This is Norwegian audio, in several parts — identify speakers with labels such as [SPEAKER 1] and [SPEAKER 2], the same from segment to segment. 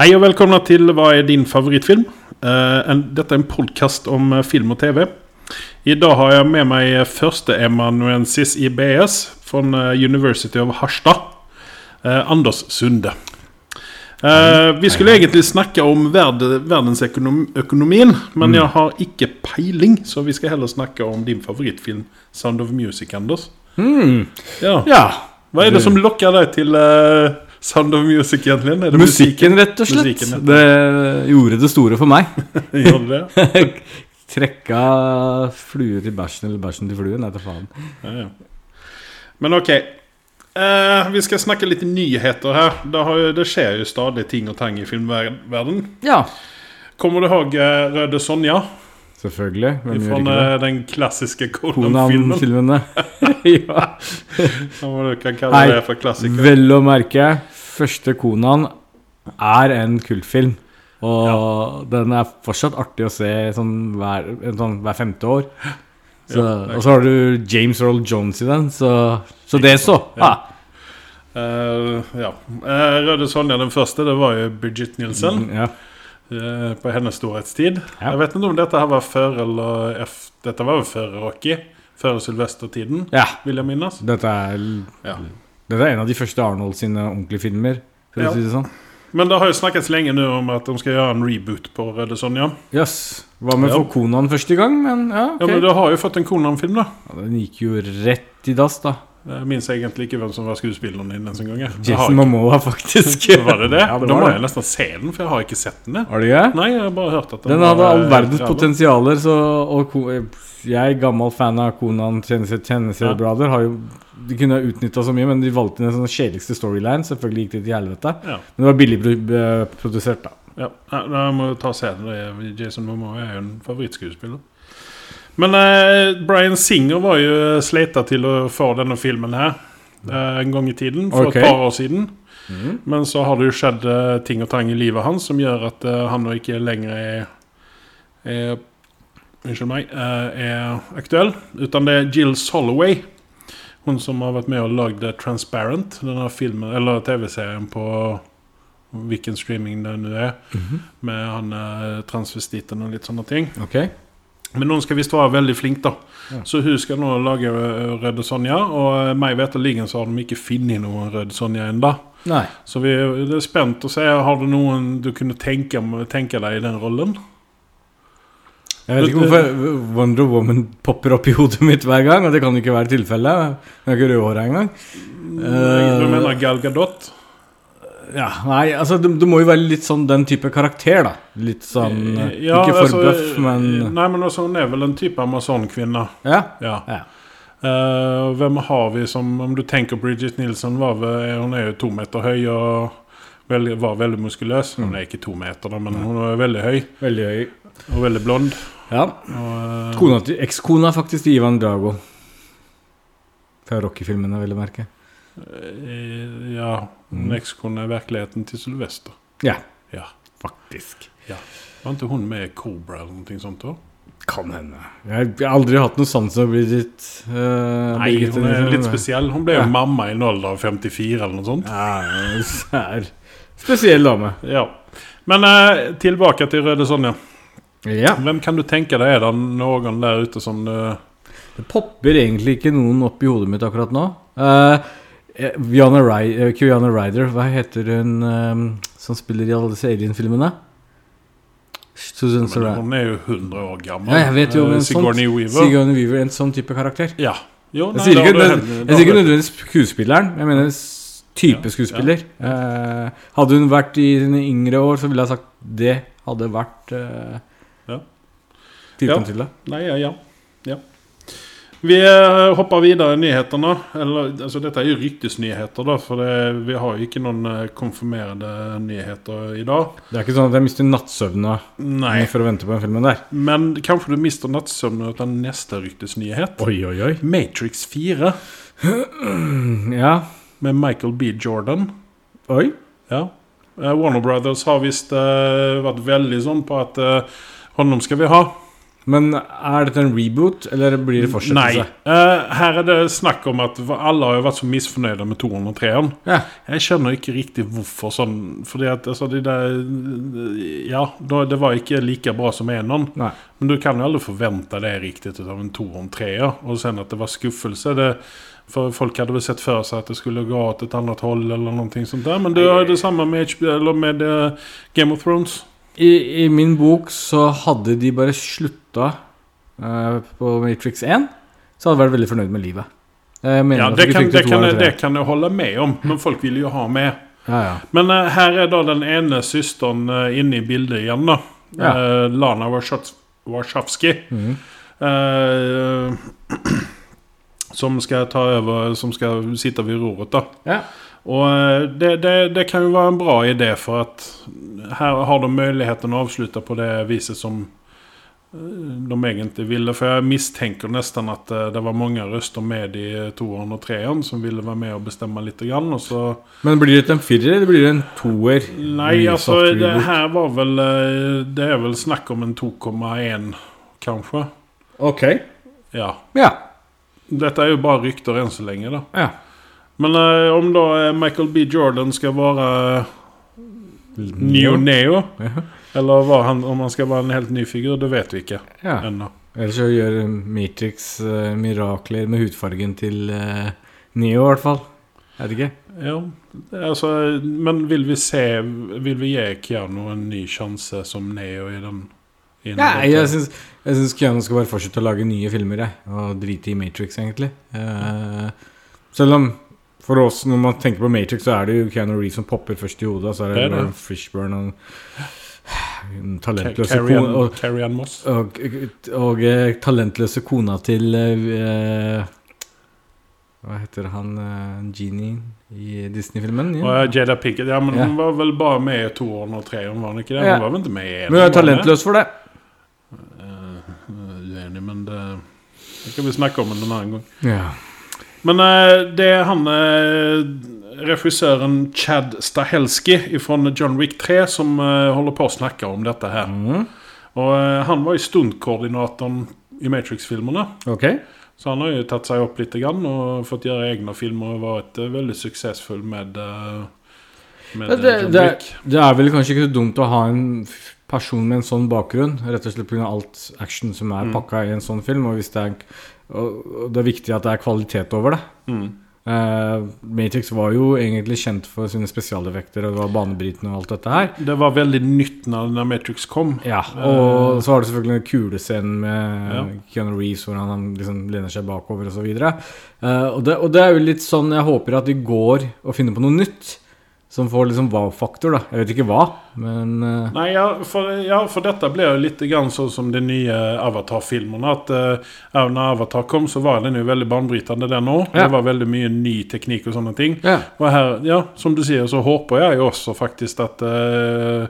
[SPEAKER 1] Hei og velkomna til Hva er din favorittfilm? Eh, en, dette er en podkast om eh, film og TV. I dag har jeg med meg førsteemanuensis i BS fra eh, University of Harstad, eh, Anders Sunde. Eh, vi skulle egentlig snakke om verd, verdensøkonomien, men jeg har ikke peiling, så vi skal heller snakke om din favorittfilm, 'Sound of Music', Anders. Ja.
[SPEAKER 2] Ja.
[SPEAKER 1] Hva er det som lokker deg til eh, 'Sound of Music', egentlig? Er det
[SPEAKER 2] Musikken, rett og slett.
[SPEAKER 1] Musikken, ja.
[SPEAKER 2] Det gjorde det store for meg.
[SPEAKER 1] Gjør det?
[SPEAKER 2] Trekka fluer til bæsjen eller bæsjen til fluen. Nei, ta faen.
[SPEAKER 1] Ja, ja. Men ok. Eh, vi skal snakke litt nyheter her. Det, har, jo- det skjer jo stadig ting og tang i filmverden
[SPEAKER 2] Ja,
[SPEAKER 1] Kommer du ihåg eh, Røde Sonja?
[SPEAKER 2] selvfølgelig. Hvem gjør
[SPEAKER 1] Fra
[SPEAKER 2] ikke det?
[SPEAKER 1] eh, den klassiske Conan-filmen.
[SPEAKER 2] Konan-filmene. ja.
[SPEAKER 1] Om du kan kalle
[SPEAKER 2] Nei,
[SPEAKER 1] det for klassiker.
[SPEAKER 2] Vel å merke, første Konan er en kultfilm. Og den er fortsatt artig å se sånn hver, en sånn hver femte år. Så,
[SPEAKER 1] Ja, det er
[SPEAKER 2] og så har du James Earl Jones i den, så, så det så. Ja.
[SPEAKER 1] Ja. Eh, ja. Eh, Røde Sonja, den første, det var jo Bridget Nielsen.
[SPEAKER 2] Ja.
[SPEAKER 1] eh, på hennes storhetstid.
[SPEAKER 2] Mm. Ja.
[SPEAKER 1] Jeg vet ikke om dette her var før eller ef- Dette var jo før Rocky. Før Sylvestertiden,
[SPEAKER 2] ja.
[SPEAKER 1] vil jeg minnes.
[SPEAKER 2] Dette er
[SPEAKER 1] Ja.
[SPEAKER 2] Dette er en av de første Arnold sine ordentlige filmer. For
[SPEAKER 1] Ja.
[SPEAKER 2] å si det sånn
[SPEAKER 1] Men det har jo snakkes lenge nå om at de skal gjøre en reboot på Røde Sonja.
[SPEAKER 2] Jøss. Hva med
[SPEAKER 1] Ja.
[SPEAKER 2] for Konan første gang? Men ja, ok.
[SPEAKER 1] Ja, men det har jo fått en Konan-film, da.
[SPEAKER 2] Ja, Den gikk jo rett i dass, da.
[SPEAKER 1] Jeg minnes egentlig ikke hvem som var skuespilleren i den engang. Jeg har
[SPEAKER 2] Jason
[SPEAKER 1] ikke-
[SPEAKER 2] Momoa, faktisk.
[SPEAKER 1] Var det det?
[SPEAKER 2] Ja, det
[SPEAKER 1] da må
[SPEAKER 2] var
[SPEAKER 1] jeg
[SPEAKER 2] det.
[SPEAKER 1] nesten se den, for jeg har ikke sett den. jeg.
[SPEAKER 2] Har du ikke?
[SPEAKER 1] Nei, jeg har bare hørt at den
[SPEAKER 2] Den hadde all
[SPEAKER 1] eh,
[SPEAKER 2] verdens
[SPEAKER 1] jævla.
[SPEAKER 2] potensialer, så og ko- eh, Jeg, gammel fan av Konan Tjenestebrader, har jo De kunne ha utnytta så mye, men de valgte den sånn kjedeligste storyline. Selvfølgelig gikk det til helvete.
[SPEAKER 1] Ja.
[SPEAKER 2] Men det var billig pro- eh, produsert, da.
[SPEAKER 1] Ja, Nei, da må jeg ta og se den. Det er- Jason Momoa er jo en favorittskuespiller. Men eh, Bryan Singer var jo sleita til å få denne filmen her eh, en gang i tiden, for
[SPEAKER 2] Ok.
[SPEAKER 1] et par år siden. Men så har det jo skjedd eh, ting og tang i livet hans som gjør at eh, han nå ikke lenger er, er Unnskyld meg. eh, er aktuell. Utan det er Jill Soloway. Hun som har vært med og lagd eh, 'Transparent', denne filmen, eller TV-serien på hvilken streaming det nå er,
[SPEAKER 2] Mhm.
[SPEAKER 1] med han eh, transvestitten og litt sånne ting.
[SPEAKER 2] Ok
[SPEAKER 1] Men noen skal visst være veldig flink, da.
[SPEAKER 2] Ja.
[SPEAKER 1] Så hun skal nå lage eh, Røde Sonja, og eh, meg veterligen så har de ikke funnet noen Røde Sonja ennå.
[SPEAKER 2] Nei.
[SPEAKER 1] Så vi det er spent å se. Har du noen du kunne tenke, tenke deg i den rollen?
[SPEAKER 2] Jeg vet ikke hvorfor Wonder Woman popper opp i hodet mitt hver gang, og det kan jo ikke være tilfellet. Hun er ikke rødhåra engang.
[SPEAKER 1] du mener Gal Gadot?
[SPEAKER 2] Ja, nei, altså det, det må jo være litt sånn den type karakter, da. Litt sånn eh, Ikke for bøff, men
[SPEAKER 1] altså, Nei, men altså, hun er vel en type Amazon-kvinne.
[SPEAKER 2] Ja.
[SPEAKER 1] Ja.
[SPEAKER 2] ja.
[SPEAKER 1] Eh, hvem har vi som Om du tenker Bridget Nielsen, var vel, hun er jo to meter høy og veldig, var veldig muskuløs.
[SPEAKER 2] Mm.
[SPEAKER 1] Hun er ikke to meter, da, men hun er veldig høy
[SPEAKER 2] Veldig høy.
[SPEAKER 1] og veldig blond.
[SPEAKER 2] Ja.
[SPEAKER 1] Og,
[SPEAKER 2] Kona til, Ekskona faktisk til Ivan Drago. Fra Rocky-filmene, vil jeg merke.
[SPEAKER 1] eh, ja,
[SPEAKER 2] Mm.
[SPEAKER 1] ekskone er virkeligheten til Sylvester.
[SPEAKER 2] Ja.
[SPEAKER 1] Ja.
[SPEAKER 2] Faktisk.
[SPEAKER 1] Var ikke hun med i Cobra eller noe sånt? da?
[SPEAKER 2] Kan hende. Jeg, jeg har aldri hatt noe sans for Bridget. eh,
[SPEAKER 1] Nei,
[SPEAKER 2] Birgitte
[SPEAKER 1] hun er
[SPEAKER 2] Nielsen.
[SPEAKER 1] litt spesiell. Hun ble jo
[SPEAKER 2] Ja.
[SPEAKER 1] mamma i en alder av 54 eller noe sånt.
[SPEAKER 2] Ja, hun er spesiell dame.
[SPEAKER 1] Ja. Men eh, tilbake til Røde Sonja.
[SPEAKER 2] Ja.
[SPEAKER 1] Hvem kan du tenke deg er det noen der ute som eh,
[SPEAKER 2] Det popper egentlig ikke noen opp i hodet mitt akkurat nå. Eh, Kiana Ryder, eh, Ryder, hva heter hun eh, som spiller i alle disse Alien-filmene? Susan
[SPEAKER 1] Men
[SPEAKER 2] Sarandon.
[SPEAKER 1] hun er jo 100 år gammel.
[SPEAKER 2] Ja, jeg vet jo,
[SPEAKER 1] Eh,
[SPEAKER 2] men sånt-
[SPEAKER 1] Sigourney Weaver.
[SPEAKER 2] Sigourney Weaver, en sånn type karakter.
[SPEAKER 1] ja. Jo,
[SPEAKER 2] Jeg
[SPEAKER 1] nei,
[SPEAKER 2] sier
[SPEAKER 1] da
[SPEAKER 2] ikke,
[SPEAKER 1] har du
[SPEAKER 2] nødvendigvis-
[SPEAKER 1] henne- da
[SPEAKER 2] jeg sier ikke
[SPEAKER 1] har du-
[SPEAKER 2] nødvendigvis skuespilleren, jeg mener s-
[SPEAKER 1] Ja,
[SPEAKER 2] type skuespiller. Eh, hadde hun vært i sine yngre år, så ville jeg sagt det hadde vært eh,
[SPEAKER 1] Ja.
[SPEAKER 2] typen
[SPEAKER 1] Ja.
[SPEAKER 2] til det.
[SPEAKER 1] Nei, ja, ja. ja. Vi eh, hopper videre i nyhetene. Eller, altså, dette er jo ryktesnyheter, da, for det, vi har jo ikke noen eh, konfirmerede nyheter i dag.
[SPEAKER 2] Det er ikke sånn at jeg mister nattsøvna
[SPEAKER 1] Nei.
[SPEAKER 2] for å vente på den filmen der.
[SPEAKER 1] Men kanskje du mister nattsøvnen av neste ryktesnyhet.
[SPEAKER 2] Oi, oi, oi.
[SPEAKER 1] Matrix 4
[SPEAKER 2] Ja.
[SPEAKER 1] med Michael B. Jordan.
[SPEAKER 2] Oi.
[SPEAKER 1] Ja. Eh, Warner Brothers har visst eh, vært veldig sånn på at uh, honom eh, skal vi ha.
[SPEAKER 2] Men er dette en reboot, eller blir det
[SPEAKER 1] Nei.
[SPEAKER 2] fortsettelse?
[SPEAKER 1] Eh, her er det snakk om at va- alle har jo vært så misfornøyde med toeren og treeren.
[SPEAKER 2] Ja.
[SPEAKER 1] Jeg skjønner ikke riktig hvorfor sånn. Fordi at altså, de der eh, Ja, da- det var ikke like bra som eneren.
[SPEAKER 2] Nei.
[SPEAKER 1] Men du kan jo aldri forvente det riktigt av en toer og en treer. Og sen at det var skuffelse. Det, for folk hadde vel sett for seg at det skulle gå åt et annet hold eller noe sånt der. Men du har jo det samme med, HBO, eller med eh, Game of Thrones.
[SPEAKER 2] I, I min bok så hadde de bare slutta eh, på Matrix 1, så hadde jeg vært veldig fornøyd med livet. Jeg mener
[SPEAKER 1] Ja,
[SPEAKER 2] at
[SPEAKER 1] det
[SPEAKER 2] vi
[SPEAKER 1] kan,
[SPEAKER 2] fikk til
[SPEAKER 1] det, kan,
[SPEAKER 2] toeren og
[SPEAKER 1] det
[SPEAKER 2] treeren.
[SPEAKER 1] kan jeg holde med om, men folk ville jo ha med.
[SPEAKER 2] Ja, ja.
[SPEAKER 1] Men eh, her er da den ene søsteren eh, inne i bildet igjen, da.
[SPEAKER 2] Ja.
[SPEAKER 1] Eh, Lana Warshats- Warshawski.
[SPEAKER 2] Mhm.
[SPEAKER 1] Eh, som skal ta over Som skal sitte vid roret, da.
[SPEAKER 2] ja.
[SPEAKER 1] Og eh, det, det, det kan jo være en bra idé, for at her har de muligheten å avslutte på det viset som eh, de egentlig ville. For jeg mistenker nesten at eh, det var mange røster med i toeren og treeren som ville være med og bestemme litt. Grann, og så
[SPEAKER 2] Men blir det en firer, eller blir det en toer?
[SPEAKER 1] Nei,
[SPEAKER 2] Mye
[SPEAKER 1] altså
[SPEAKER 2] soft
[SPEAKER 1] det
[SPEAKER 2] reboot.
[SPEAKER 1] her var vel eh, Det er vel snakk om en 2,1, kanskje.
[SPEAKER 2] Ok.
[SPEAKER 1] Ja.
[SPEAKER 2] Ja.
[SPEAKER 1] Dette er jo bare rykter enn så lenge, da.
[SPEAKER 2] ja.
[SPEAKER 1] Men eh, om da eh, Michael B. Jordan skal være Neo Neo,
[SPEAKER 2] Ja.
[SPEAKER 1] eller hva han, om han skal være en helt ny figur, det vet vi ikke
[SPEAKER 2] ja.
[SPEAKER 1] ennå.
[SPEAKER 2] Ellers så gjør Matrix eh, mirakler med hudfargen til eh, Neo, i hvert fall. Jeg vet ikke.
[SPEAKER 1] Ja, altså, men vil vi se Vil vi gi Keanu en ny sjanse som Neo i den? i den
[SPEAKER 2] Nei,
[SPEAKER 1] boken?
[SPEAKER 2] jeg syns, jeg syns Keanu skal bare fortsette å lage nye filmer jeg, og drite i Matrix, egentlig. Eh, selv om for oss, når man tenker på Matrix, så er det jo Keanu Reeves som popper først i hodet. og Så er
[SPEAKER 1] Det
[SPEAKER 2] det
[SPEAKER 1] er det.
[SPEAKER 2] Lauren Fishburne og den talentløse
[SPEAKER 1] Carrie
[SPEAKER 2] kona
[SPEAKER 1] Ann-
[SPEAKER 2] og,
[SPEAKER 1] Carrie Ann Moss.
[SPEAKER 2] og, og eh, talentløse kona til eh, Hva heter han eh, Genie i Disney-filmen?
[SPEAKER 1] Og ja, Jada Pinkett Ja, men
[SPEAKER 2] Ja.
[SPEAKER 1] hun var vel bare med i toeren og treeren, var hun ikke det? Hun
[SPEAKER 2] Ja.
[SPEAKER 1] var vel ikke med i eneren?
[SPEAKER 2] Men hun
[SPEAKER 1] var
[SPEAKER 2] er talentløs for det.
[SPEAKER 1] hun? Eh, Uenig, men det Det kan vi snakke om en annen gang.
[SPEAKER 2] Ja.
[SPEAKER 1] Men eh, det er han eh, regissøren Chad Stahelski fra John Wick 3 som eh, holder på å snakke om dette her.
[SPEAKER 2] Mm.
[SPEAKER 1] Og eh, han var jo stuntkoordinatoren i Matrix-filmene.
[SPEAKER 2] Ok.
[SPEAKER 1] Så han har ju tagit sig upp lite grann och fått göra egna filmer och varit eh, väldigt successfull med, eh, med
[SPEAKER 2] Ja, det-
[SPEAKER 1] eh, John
[SPEAKER 2] det-
[SPEAKER 1] Wick.
[SPEAKER 2] Det er vel kanskje ikke så dumt å ha en f- person med en sånn bakgrunn, rett og slett pga. alt action som er
[SPEAKER 1] Mm.
[SPEAKER 2] pakka i en sånn film. Og, hvis det er, en k- og og det er viktig at det er kvalitet over det.
[SPEAKER 1] Mm.
[SPEAKER 2] Eh, Matrix var jo egentlig kjent for sine spesialeffekter, og det var banebrytende og alt dette her.
[SPEAKER 1] Det var väldigt nytt när, när Matrix kom.
[SPEAKER 2] Ja, Og så har du selvfølgelig den kule scenen med
[SPEAKER 1] Eh. Ja.
[SPEAKER 2] Keanu Reeves hvor han liksom lener seg bakover osv. Uh, og, det- og det er jo litt sånn jeg håper at de går og finner på noe nytt. Som får liksom wow-faktor, da. Jeg vet ikke hva, men eh,
[SPEAKER 1] Nej, ja, för, ja, för detta blev ju lite grann så som de nya Avatar-filmerna. Att eh, även när Avatar kom så var den ju väldigt banbrytande den år.
[SPEAKER 2] Ja.
[SPEAKER 1] Det var väldigt mycket ny teknik och sådana ting.
[SPEAKER 2] ja.
[SPEAKER 1] Og her, ja, som du sier, så håper jeg jo også faktisk at eh,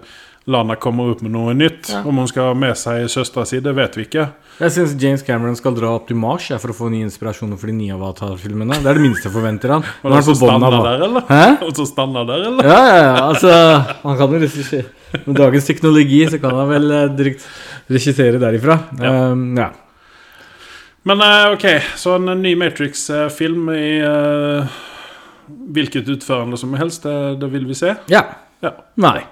[SPEAKER 1] Lana kommer opp med noe nytt.
[SPEAKER 2] Ja.
[SPEAKER 1] Om hun skal ha med seg søstera si, det vet vi ikke.
[SPEAKER 2] Jeg syns James Cameron skal dra opp til Mars jeg, for å få ny inspirasjon for de nye Avatar-filmene. Det er det minste jeg forventer han.
[SPEAKER 1] Og
[SPEAKER 2] Nå er han
[SPEAKER 1] så
[SPEAKER 2] på bånn
[SPEAKER 1] stanna
[SPEAKER 2] av
[SPEAKER 1] der, eller?
[SPEAKER 2] Hæ?
[SPEAKER 1] Og så stanna der, eller?
[SPEAKER 2] Ja, ja, ja. Altså, han kan jo regissere Med dagens teknologi så kan han vel eh, drygt regissere derifra.
[SPEAKER 1] Ja.
[SPEAKER 2] Um, ja.
[SPEAKER 1] Men eh, ok, så en ny Matrix-film i eh, hvilket utførende som helst, eh, det, det vil vi se.
[SPEAKER 2] ja.
[SPEAKER 1] Ja.
[SPEAKER 2] Nei.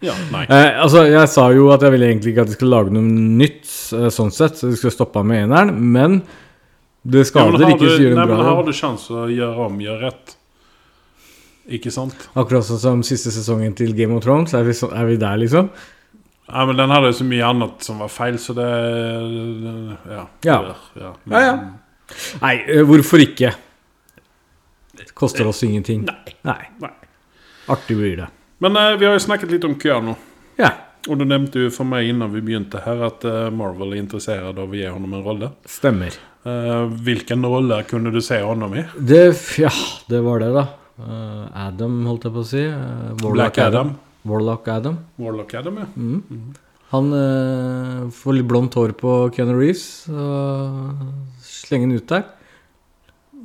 [SPEAKER 1] Ja, nei.
[SPEAKER 2] Eh, altså, jeg sa jo at jeg ville egentlig ikke at de skulle lage noe nytt, eh, sånn sett. Så de skulle stoppa med eneren. Men
[SPEAKER 1] Ja, men
[SPEAKER 2] det skader
[SPEAKER 1] har
[SPEAKER 2] ikke
[SPEAKER 1] du-
[SPEAKER 2] hvis de gjør
[SPEAKER 1] nei,
[SPEAKER 2] en
[SPEAKER 1] men
[SPEAKER 2] bra
[SPEAKER 1] Har
[SPEAKER 2] jobb.
[SPEAKER 1] du sjanse å gjøre om, gjøre rett? Ikke sant?
[SPEAKER 2] Akkurat sånn som siste sesongen til Game of Thrones. Er vi, så, er vi der, liksom?
[SPEAKER 1] Ja, men den hadde jo så mye annet som var feil, så det Ja.
[SPEAKER 2] Ja.
[SPEAKER 1] ja.
[SPEAKER 2] Ja, ja. Nei, eh, hvorfor ikke? Det koster oss ingenting.
[SPEAKER 1] Nei.
[SPEAKER 2] Nei.
[SPEAKER 1] Nei.
[SPEAKER 2] Artig blir det.
[SPEAKER 1] Men eh, vi har jo snakket litt om Keanu.
[SPEAKER 2] Ja,
[SPEAKER 1] Og du nevnte jo for meg innan vi begynte her at eh, Marvel er interessert av å gi ham en rolle.
[SPEAKER 2] stemmer.
[SPEAKER 1] Eh, hvilken rolle kunne du se ham i?
[SPEAKER 2] Det, f- ja, det var det, da. Eh, Adam, holdt jeg på å si. Eh, Warlock
[SPEAKER 1] Black Adam.
[SPEAKER 2] Warlock Adam.
[SPEAKER 1] Warlock Adam, ja.
[SPEAKER 2] Mm.
[SPEAKER 1] Mhm.
[SPEAKER 2] Han eh, får litt blondt hår på Keanu Reeves. Og slenger den ut der.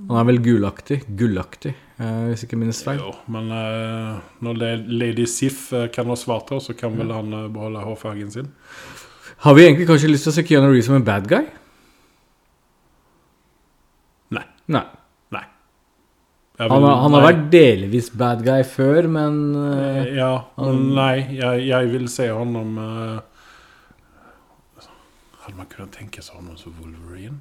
[SPEAKER 2] Han er vel gulaktig. Gullaktig, eh, hvis ikke minst feil.
[SPEAKER 1] Jo, men eh, når Le- Lady Sif eh, kan ha svart hår, så kan vel han eh, beholde hårfargen sin.
[SPEAKER 2] Har vi egentlig kanskje lyst til å se Keanu Reeves som en bad guy?
[SPEAKER 1] Nei.
[SPEAKER 2] Nei.
[SPEAKER 1] Nei. Jeg
[SPEAKER 2] Han,
[SPEAKER 1] vil-
[SPEAKER 2] har- han har
[SPEAKER 1] nei.
[SPEAKER 2] vært delvis bad guy før, men eh,
[SPEAKER 1] Ja.
[SPEAKER 2] han-
[SPEAKER 1] Nei, jeg, jeg vil se honom eh, Hadde man kunnet tenke seg honom som Wolverine?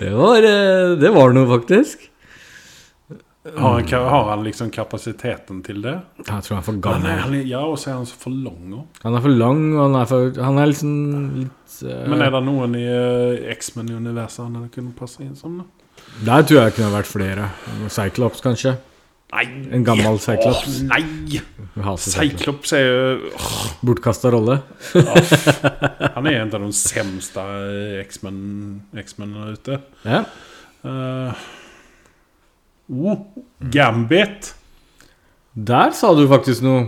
[SPEAKER 2] det, var, eh, det var noe, faktisk.
[SPEAKER 1] Har han, ka- har han liksom kapasiteten til det?
[SPEAKER 2] Jeg tror han er for
[SPEAKER 1] Han er,
[SPEAKER 2] gammel.
[SPEAKER 1] han er, ja, og så er han så for lang òg.
[SPEAKER 2] Han er for lang, og han er, for, han er liksom litt eh,
[SPEAKER 1] Men er det noen i eh, X-Men-universet han hadde kunnet passe inn som? da?
[SPEAKER 2] Der tror jeg det kunne vært flere. Cyclops, kanskje.
[SPEAKER 1] Nei!
[SPEAKER 2] En gammel Cyclops.
[SPEAKER 1] Åh, nei!
[SPEAKER 2] Jeg hater Cyclops.
[SPEAKER 1] Cyclops er jo åh,
[SPEAKER 2] Bortkasta rolle.
[SPEAKER 1] Han er en av de sämsta eh, X-Men- X-Men-ene ute.
[SPEAKER 2] Ja.
[SPEAKER 1] Eh, oh, Gambit!
[SPEAKER 2] Der sa du faktisk noe.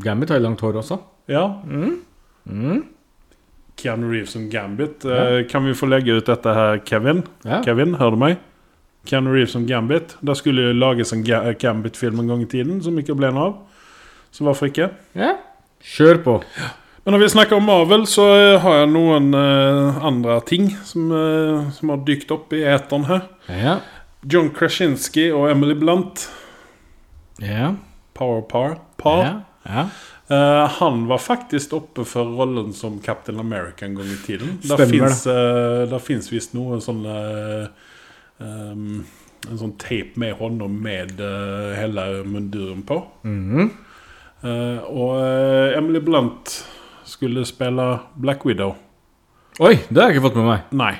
[SPEAKER 2] Gambit har jo langt hår også.
[SPEAKER 1] Ja,
[SPEAKER 2] Mm.
[SPEAKER 1] Keanu Reeves som Gambit. Eh, Kan vi få legge ut dette her, Kevin?
[SPEAKER 2] Ja.
[SPEAKER 1] Kevin, hører du meg? Keanu Reeves som Gambit. Det skulle jo lages en Ga eh, Gambit-film en gang i tiden, som ikke ble noe av. Så hvorfor ikke?
[SPEAKER 2] ja. Kjør på.
[SPEAKER 1] Men når vi snakker om Marvel, så eh, har jeg noen eh, andre ting som, eh, som har dykt opp i eteren her.
[SPEAKER 2] Ja.
[SPEAKER 1] John Krasinski og Emily Blunt.
[SPEAKER 2] Ja.
[SPEAKER 1] Power Par.
[SPEAKER 2] Ja.
[SPEAKER 1] par.
[SPEAKER 2] ja.
[SPEAKER 1] Eh, han var faktisk oppe for rollen som Captain America en gang i tiden. eh,
[SPEAKER 2] Stemmer det.
[SPEAKER 1] Det fins visst noe sånn eh, ehm, En sånn tape med honom med eh, hele munduren på.
[SPEAKER 2] Mhm.
[SPEAKER 1] Eh, og eh, Emily Blunt skulle spille Black Widow.
[SPEAKER 2] Oi, det har jeg ikke fått med meg.
[SPEAKER 1] Nei.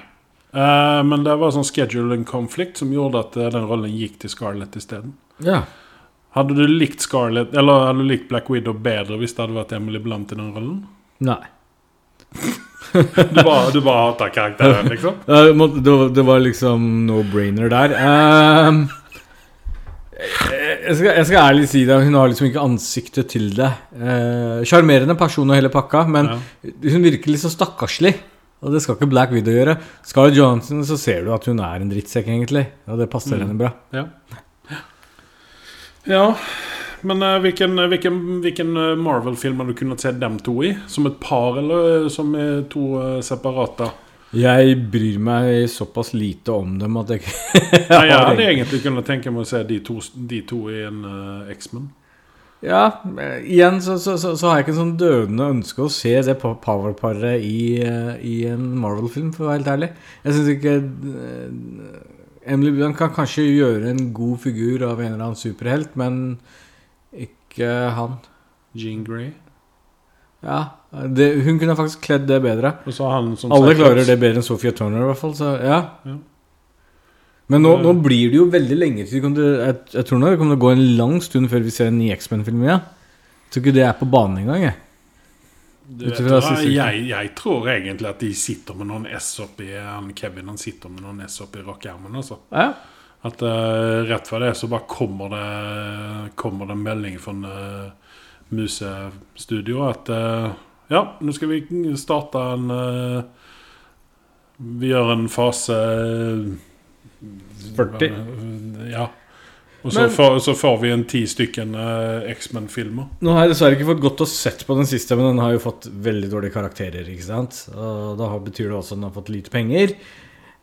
[SPEAKER 1] Eh, men det var sånn scheduling conflict som gjorde at eh, den rollen gikk til Scarlett isteden.
[SPEAKER 2] Ja.
[SPEAKER 1] Hadde du likt Scarlett, eller hadde du likt Black Widow bedre hvis det hadde vært Emily Blunt i den rollen?
[SPEAKER 2] Nei.
[SPEAKER 1] Du bare, du bare hater karakteren, liksom?
[SPEAKER 2] Eh, må- Det var, det var liksom no brainer der. Ehm, jeg, jeg skal, jeg skal ærlig si det, hun har liksom ikke ansiktet til det. Eh, Sjarmerende person og hele pakka, men
[SPEAKER 1] Ja.
[SPEAKER 2] hun virker litt så stakkarslig. Og det skal ikke Black Widow gjøre. Scarlett Johansson, så ser du at hun er en drittsekk, egentlig. Og det passer
[SPEAKER 1] Mm.
[SPEAKER 2] henne bra.
[SPEAKER 1] Ja. ja. Men eh, hvilken, hvilken, hvilken eh, Marvel-film har du kunnet se dem to i? Som et par, eller eh, som eh, to eh, separate?
[SPEAKER 2] Jeg bryr meg såpass lite om dem at jeg ikke
[SPEAKER 1] Ja, jeg
[SPEAKER 2] har
[SPEAKER 1] hadde egentlig kunnet tenke meg å se de to, de to i en eh, X-Men.
[SPEAKER 2] Ja, eh, igjen så, så, så, så har jeg ikke en sånn dødende ønske å se det po- powerparet i, eh, i en Marvel-film, for å være helt ærlig. Jeg syns ikke eh, Emily Blunt kan kanskje gjøre en god figur av en eller annen superhelt, men ikke han.
[SPEAKER 1] Jean Grey.
[SPEAKER 2] Ja, det, Hun kunne faktisk kledd det bedre.
[SPEAKER 1] Og så han som
[SPEAKER 2] Alle
[SPEAKER 1] Cyclops.
[SPEAKER 2] klarer det bedre enn Sophia Turner, i hvert fall. Så ja.
[SPEAKER 1] Ja.
[SPEAKER 2] Men nå, nå blir det jo veldig lenge til kommer til- jeg, jeg tror nå det kommer til å gå en lang stund før vi ser en ny X-Men-film igjen. Jeg tror ikke det er på banen engang. jeg
[SPEAKER 1] Du vet
[SPEAKER 2] Utifrån
[SPEAKER 1] hva,
[SPEAKER 2] siste uke.
[SPEAKER 1] jeg, jeg tror egentlig at de sitter med noen S oppi eh, han Kevin han sitter med noen S oppi rockeermen. Altså.
[SPEAKER 2] Ja.
[SPEAKER 1] At eh, rett fra det så bare kommer det, kommer det en melding fra uh, Musestudio at eh, ja, nå skal vi starte en eh, Vi gjør en fase eh,
[SPEAKER 2] 40.
[SPEAKER 1] Ja. Og så,
[SPEAKER 2] Men-
[SPEAKER 1] får, så får vi en ti stykken eh, X-Men-filmer.
[SPEAKER 2] Nå har jeg dessverre ikke fått gått og sett på den siste, men den har jo fått veldig dårlige karakterer. ikke sant? Og da har- betyr det også at den har fått lite penger.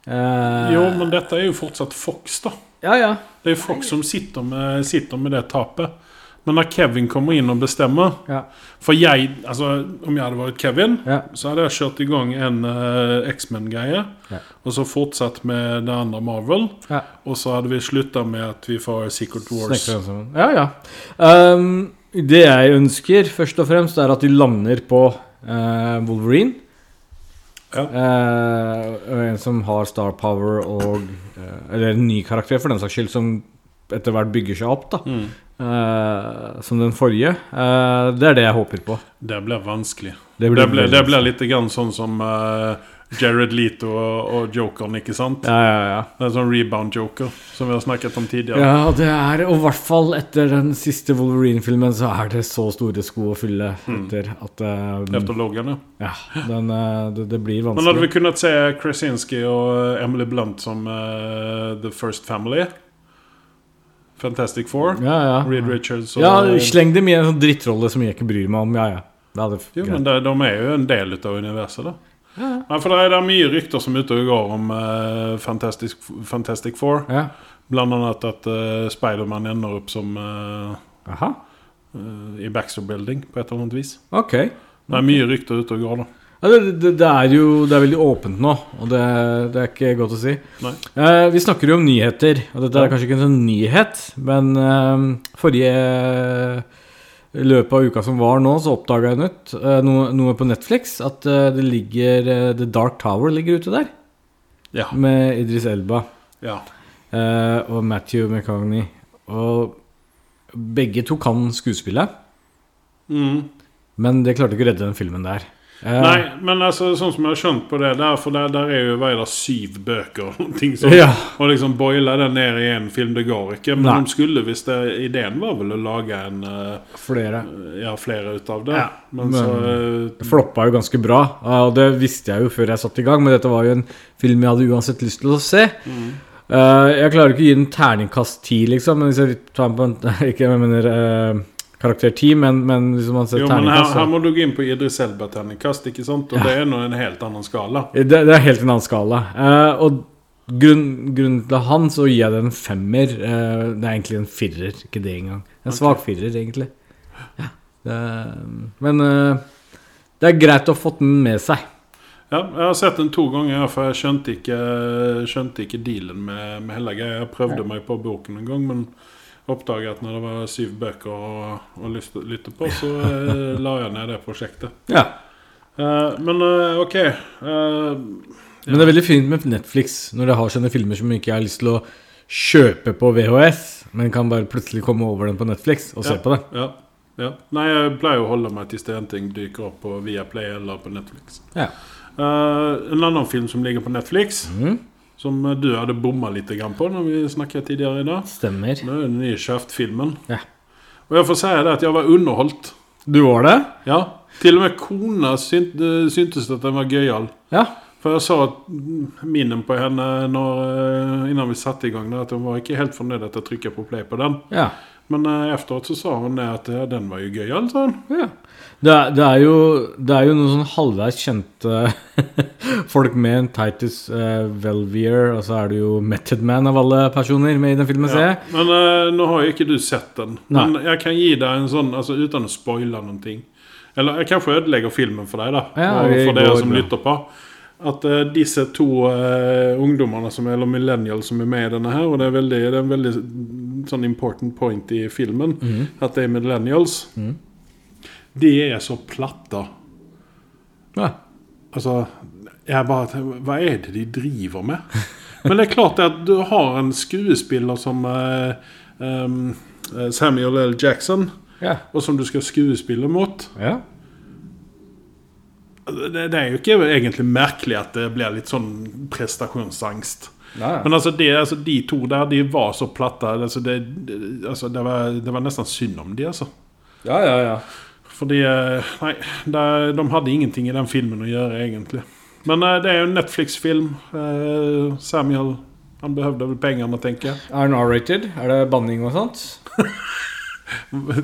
[SPEAKER 2] Eh,
[SPEAKER 1] Jo, men dette er jo fortsatt Fox, da.
[SPEAKER 2] Ja, ja.
[SPEAKER 1] Det er jo Fox som sitter med, sitter med det tapet. Men når Kevin kommer inn og bestemmer
[SPEAKER 2] Ja.
[SPEAKER 1] For jeg, altså, om jeg hadde vært Kevin,
[SPEAKER 2] Ja.
[SPEAKER 1] så hadde jeg kjørt i gang en eh, X-Men-greie.
[SPEAKER 2] Ja.
[SPEAKER 1] Og så fortsatt med det andre Marvel.
[SPEAKER 2] ja.
[SPEAKER 1] Og så hadde vi slutta med at vi får Secret Wars.
[SPEAKER 2] Snekre dem sammen. Ja, ja. Ehm, det jeg ønsker først og fremst, er at de lander på eh, Wolverine.
[SPEAKER 1] Ja.
[SPEAKER 2] Eh, og en som har star power og eh, Eller en ny karakter, for den saks skyld, som etter hvert bygger seg opp, da.
[SPEAKER 1] Mm.
[SPEAKER 2] Eh, som den forrige. Eh, det er det jeg håper på.
[SPEAKER 1] Det blir vanskelig.
[SPEAKER 2] Det
[SPEAKER 1] Det blir,
[SPEAKER 2] veldig
[SPEAKER 1] det blir litt grann sånn som eh, Jared Leto og, og Jokeren, ikke sant?
[SPEAKER 2] Ja, ja, ja.
[SPEAKER 1] Det er en sånn rebound-joker som vi har snakket om tidligere.
[SPEAKER 2] ja, det er Og i hvert fall etter den siste Wolverine-filmen så er det så store sko å fylle etter at eh,
[SPEAKER 1] Efter Logan, Mm. ja.
[SPEAKER 2] Ja, den, eh, det, det blir
[SPEAKER 1] Men hadde vi
[SPEAKER 2] vanskelig.
[SPEAKER 1] kunnet se Krasinski og Emily Blunt som eh, The First Family? Fantastic Four?
[SPEAKER 2] Ja, ja.
[SPEAKER 1] Reed Richards og
[SPEAKER 2] ja, sleng dem i en sånn drittrolle som jeg ikke bryr meg om. Ja, ja. Det hadde f-
[SPEAKER 1] Jo,
[SPEAKER 2] greit.
[SPEAKER 1] men det, de er jo en del av universet, da. Ja, for det er, det er mye rykter som er ute og går om eh, Fantastic, Fantastic Four.
[SPEAKER 2] Ja.
[SPEAKER 1] Blant annet at eh, Spiderman ender opp som eh,
[SPEAKER 2] Aha.
[SPEAKER 1] eh, i Baxter Building på et eller annet vis.
[SPEAKER 2] Ok.
[SPEAKER 1] Det er mye rykter ute og går, da.
[SPEAKER 2] Ja, det, det, det er jo det er veldig åpent nå, og det, det er ikke godt å si.
[SPEAKER 1] Nei.
[SPEAKER 2] Eh, vi snakker jo om nyheter, og dette er kanskje ikke en sånn nyhet, men eh, forrige I løpet av uka som var nå, så oppdaga jeg nytt, eh, noe, noe på Netflix. At eh, det ligger eh, The Dark Tower ligger ute der,
[SPEAKER 1] Ja.
[SPEAKER 2] med Idris Elba
[SPEAKER 1] ja.
[SPEAKER 2] eh, og Matthew McCogney. Og begge to kan skuespille,
[SPEAKER 1] Mm.
[SPEAKER 2] men det klarte ikke å redde den filmen der. Eh,
[SPEAKER 1] Nei, men altså, sånn som jeg har skjønt på det der, for der, der er jo hver dag syv bøker og ting som
[SPEAKER 2] Ja.
[SPEAKER 1] Og liksom boile den ned i én film, det går ikke. Men
[SPEAKER 2] Nei.
[SPEAKER 1] de skulle hvis det, ideen var vel å lage en eh,
[SPEAKER 2] Flere.
[SPEAKER 1] Ja, flere ut av det.
[SPEAKER 2] Ja,
[SPEAKER 1] men,
[SPEAKER 2] men-
[SPEAKER 1] så
[SPEAKER 2] Det
[SPEAKER 1] eh,
[SPEAKER 2] floppa jo ganske bra, eh, og det visste jeg jo før jeg satte i gang, men dette var jo en film jeg hadde uansett lyst til å se. Eh, jeg klarer ikke å gi den terningkast ti, liksom, men hvis jeg tar den på en nei, Ikke jeg mener eh, karakter ti, men, men hvis man ser
[SPEAKER 1] Jo, men her,
[SPEAKER 2] terningkast
[SPEAKER 1] her
[SPEAKER 2] så,
[SPEAKER 1] må du gå inn på Idris Elba-terningkast, ikke sant? Og det er nå en helt annen skala.
[SPEAKER 2] Eh, det, det er helt en annen skala. Eh, og grunn, grunnen til han så gir jeg det en femmer. eh, det er egentlig en firer, ikke det engang. En svak firer, egentlig. Ja, det, men eh, det er greit å ha fått den med seg.
[SPEAKER 1] Ja, jeg har sett den to ganger, for jeg skjønte ikke, skjønte ikke dealen med, med hele greia. Jeg prøvde meg på boken en gang, men oppdaget at når det var syv bøker å, å lytte, lytte på, så eh, la jeg ned det prosjektet.
[SPEAKER 2] Ja.
[SPEAKER 1] Eh, men eh, OK. eh,
[SPEAKER 2] Men det er veldig fint med Netflix når de har sånne filmer som ikke jeg har lyst til å kjøpe på VHS, men kan bare plutselig komme over den på Netflix og se på den.
[SPEAKER 1] ja, ja. Nei, jeg pleier å holde meg til en ting dyker opp på Viaplay eller på Netflix.
[SPEAKER 2] Ja.
[SPEAKER 1] Eh, en annen film som ligger på Netflix,
[SPEAKER 2] Mm.
[SPEAKER 1] som eh, du hadde bomma litt grann på når vi snakket tidligere i dag,
[SPEAKER 2] Stemmer.
[SPEAKER 1] det er den nye Shaft-filmen.
[SPEAKER 2] Ja.
[SPEAKER 1] Og jeg får si det at jeg var underholdt.
[SPEAKER 2] Du var det?
[SPEAKER 1] Ja. Til og med kona synt, eh, syntes at den var gøyal.
[SPEAKER 2] Ja.
[SPEAKER 1] For jeg sa at mm, minnen på henne når, eh, innan vi satte i gang, det, at hun var ikke helt fornøyd at jeg trykket på play på den.
[SPEAKER 2] ja.
[SPEAKER 1] Men eh, efteråt så sa hun det at ja, den var jo gøyal, sa hun.
[SPEAKER 2] ja. Det, er, det, er jo, det er jo noen sånn halvveis kjente folk med en Titus eh, Velvier, og så er det jo Method Man av alle personer med i den filmen, ser
[SPEAKER 1] Ja.
[SPEAKER 2] jeg.
[SPEAKER 1] Men eh, nå har jo ikke du sett den. Men jeg kan gi deg en sånn, altså uten å spoile noen ting Eller jeg kanskje ødelegger filmen for deg, da.
[SPEAKER 2] Ja,
[SPEAKER 1] og
[SPEAKER 2] det
[SPEAKER 1] for dere
[SPEAKER 2] går
[SPEAKER 1] som
[SPEAKER 2] bra.
[SPEAKER 1] lytter på. At eh, disse to eh, ungdommene, som, eller millennials, som er med i denne her Og det er, veldig, det er en veldig sånn important point i filmen
[SPEAKER 2] Mhm.
[SPEAKER 1] at det er millennials. De er så platte.
[SPEAKER 2] Ja.
[SPEAKER 1] Altså, jeg bare tenker, Hva er det de driver med? Men det er klart det at du har en skuespiller som eh, em, eh, Samuel L. Jackson,
[SPEAKER 2] Ja.
[SPEAKER 1] og som du skal skuespille mot.
[SPEAKER 2] ja.
[SPEAKER 1] Det, det er jo ikke egentlig merkelig at det blir litt sånn prestasjonsangst. Men altså, det, altså, de to der, de var så platte. Altså, det, det- altså, det, var, det var nesten synd om de, altså.
[SPEAKER 2] ja, ja, ja.
[SPEAKER 1] Fordi eh, Nei, det, de hadde ingenting i den filmen å gjøre, egentlig. Men eh, det er jo en Netflix-film. Eh, Samuel han behøvde vel pengene, tenker jeg.
[SPEAKER 2] Er den R-rated? Er det banning og sånt?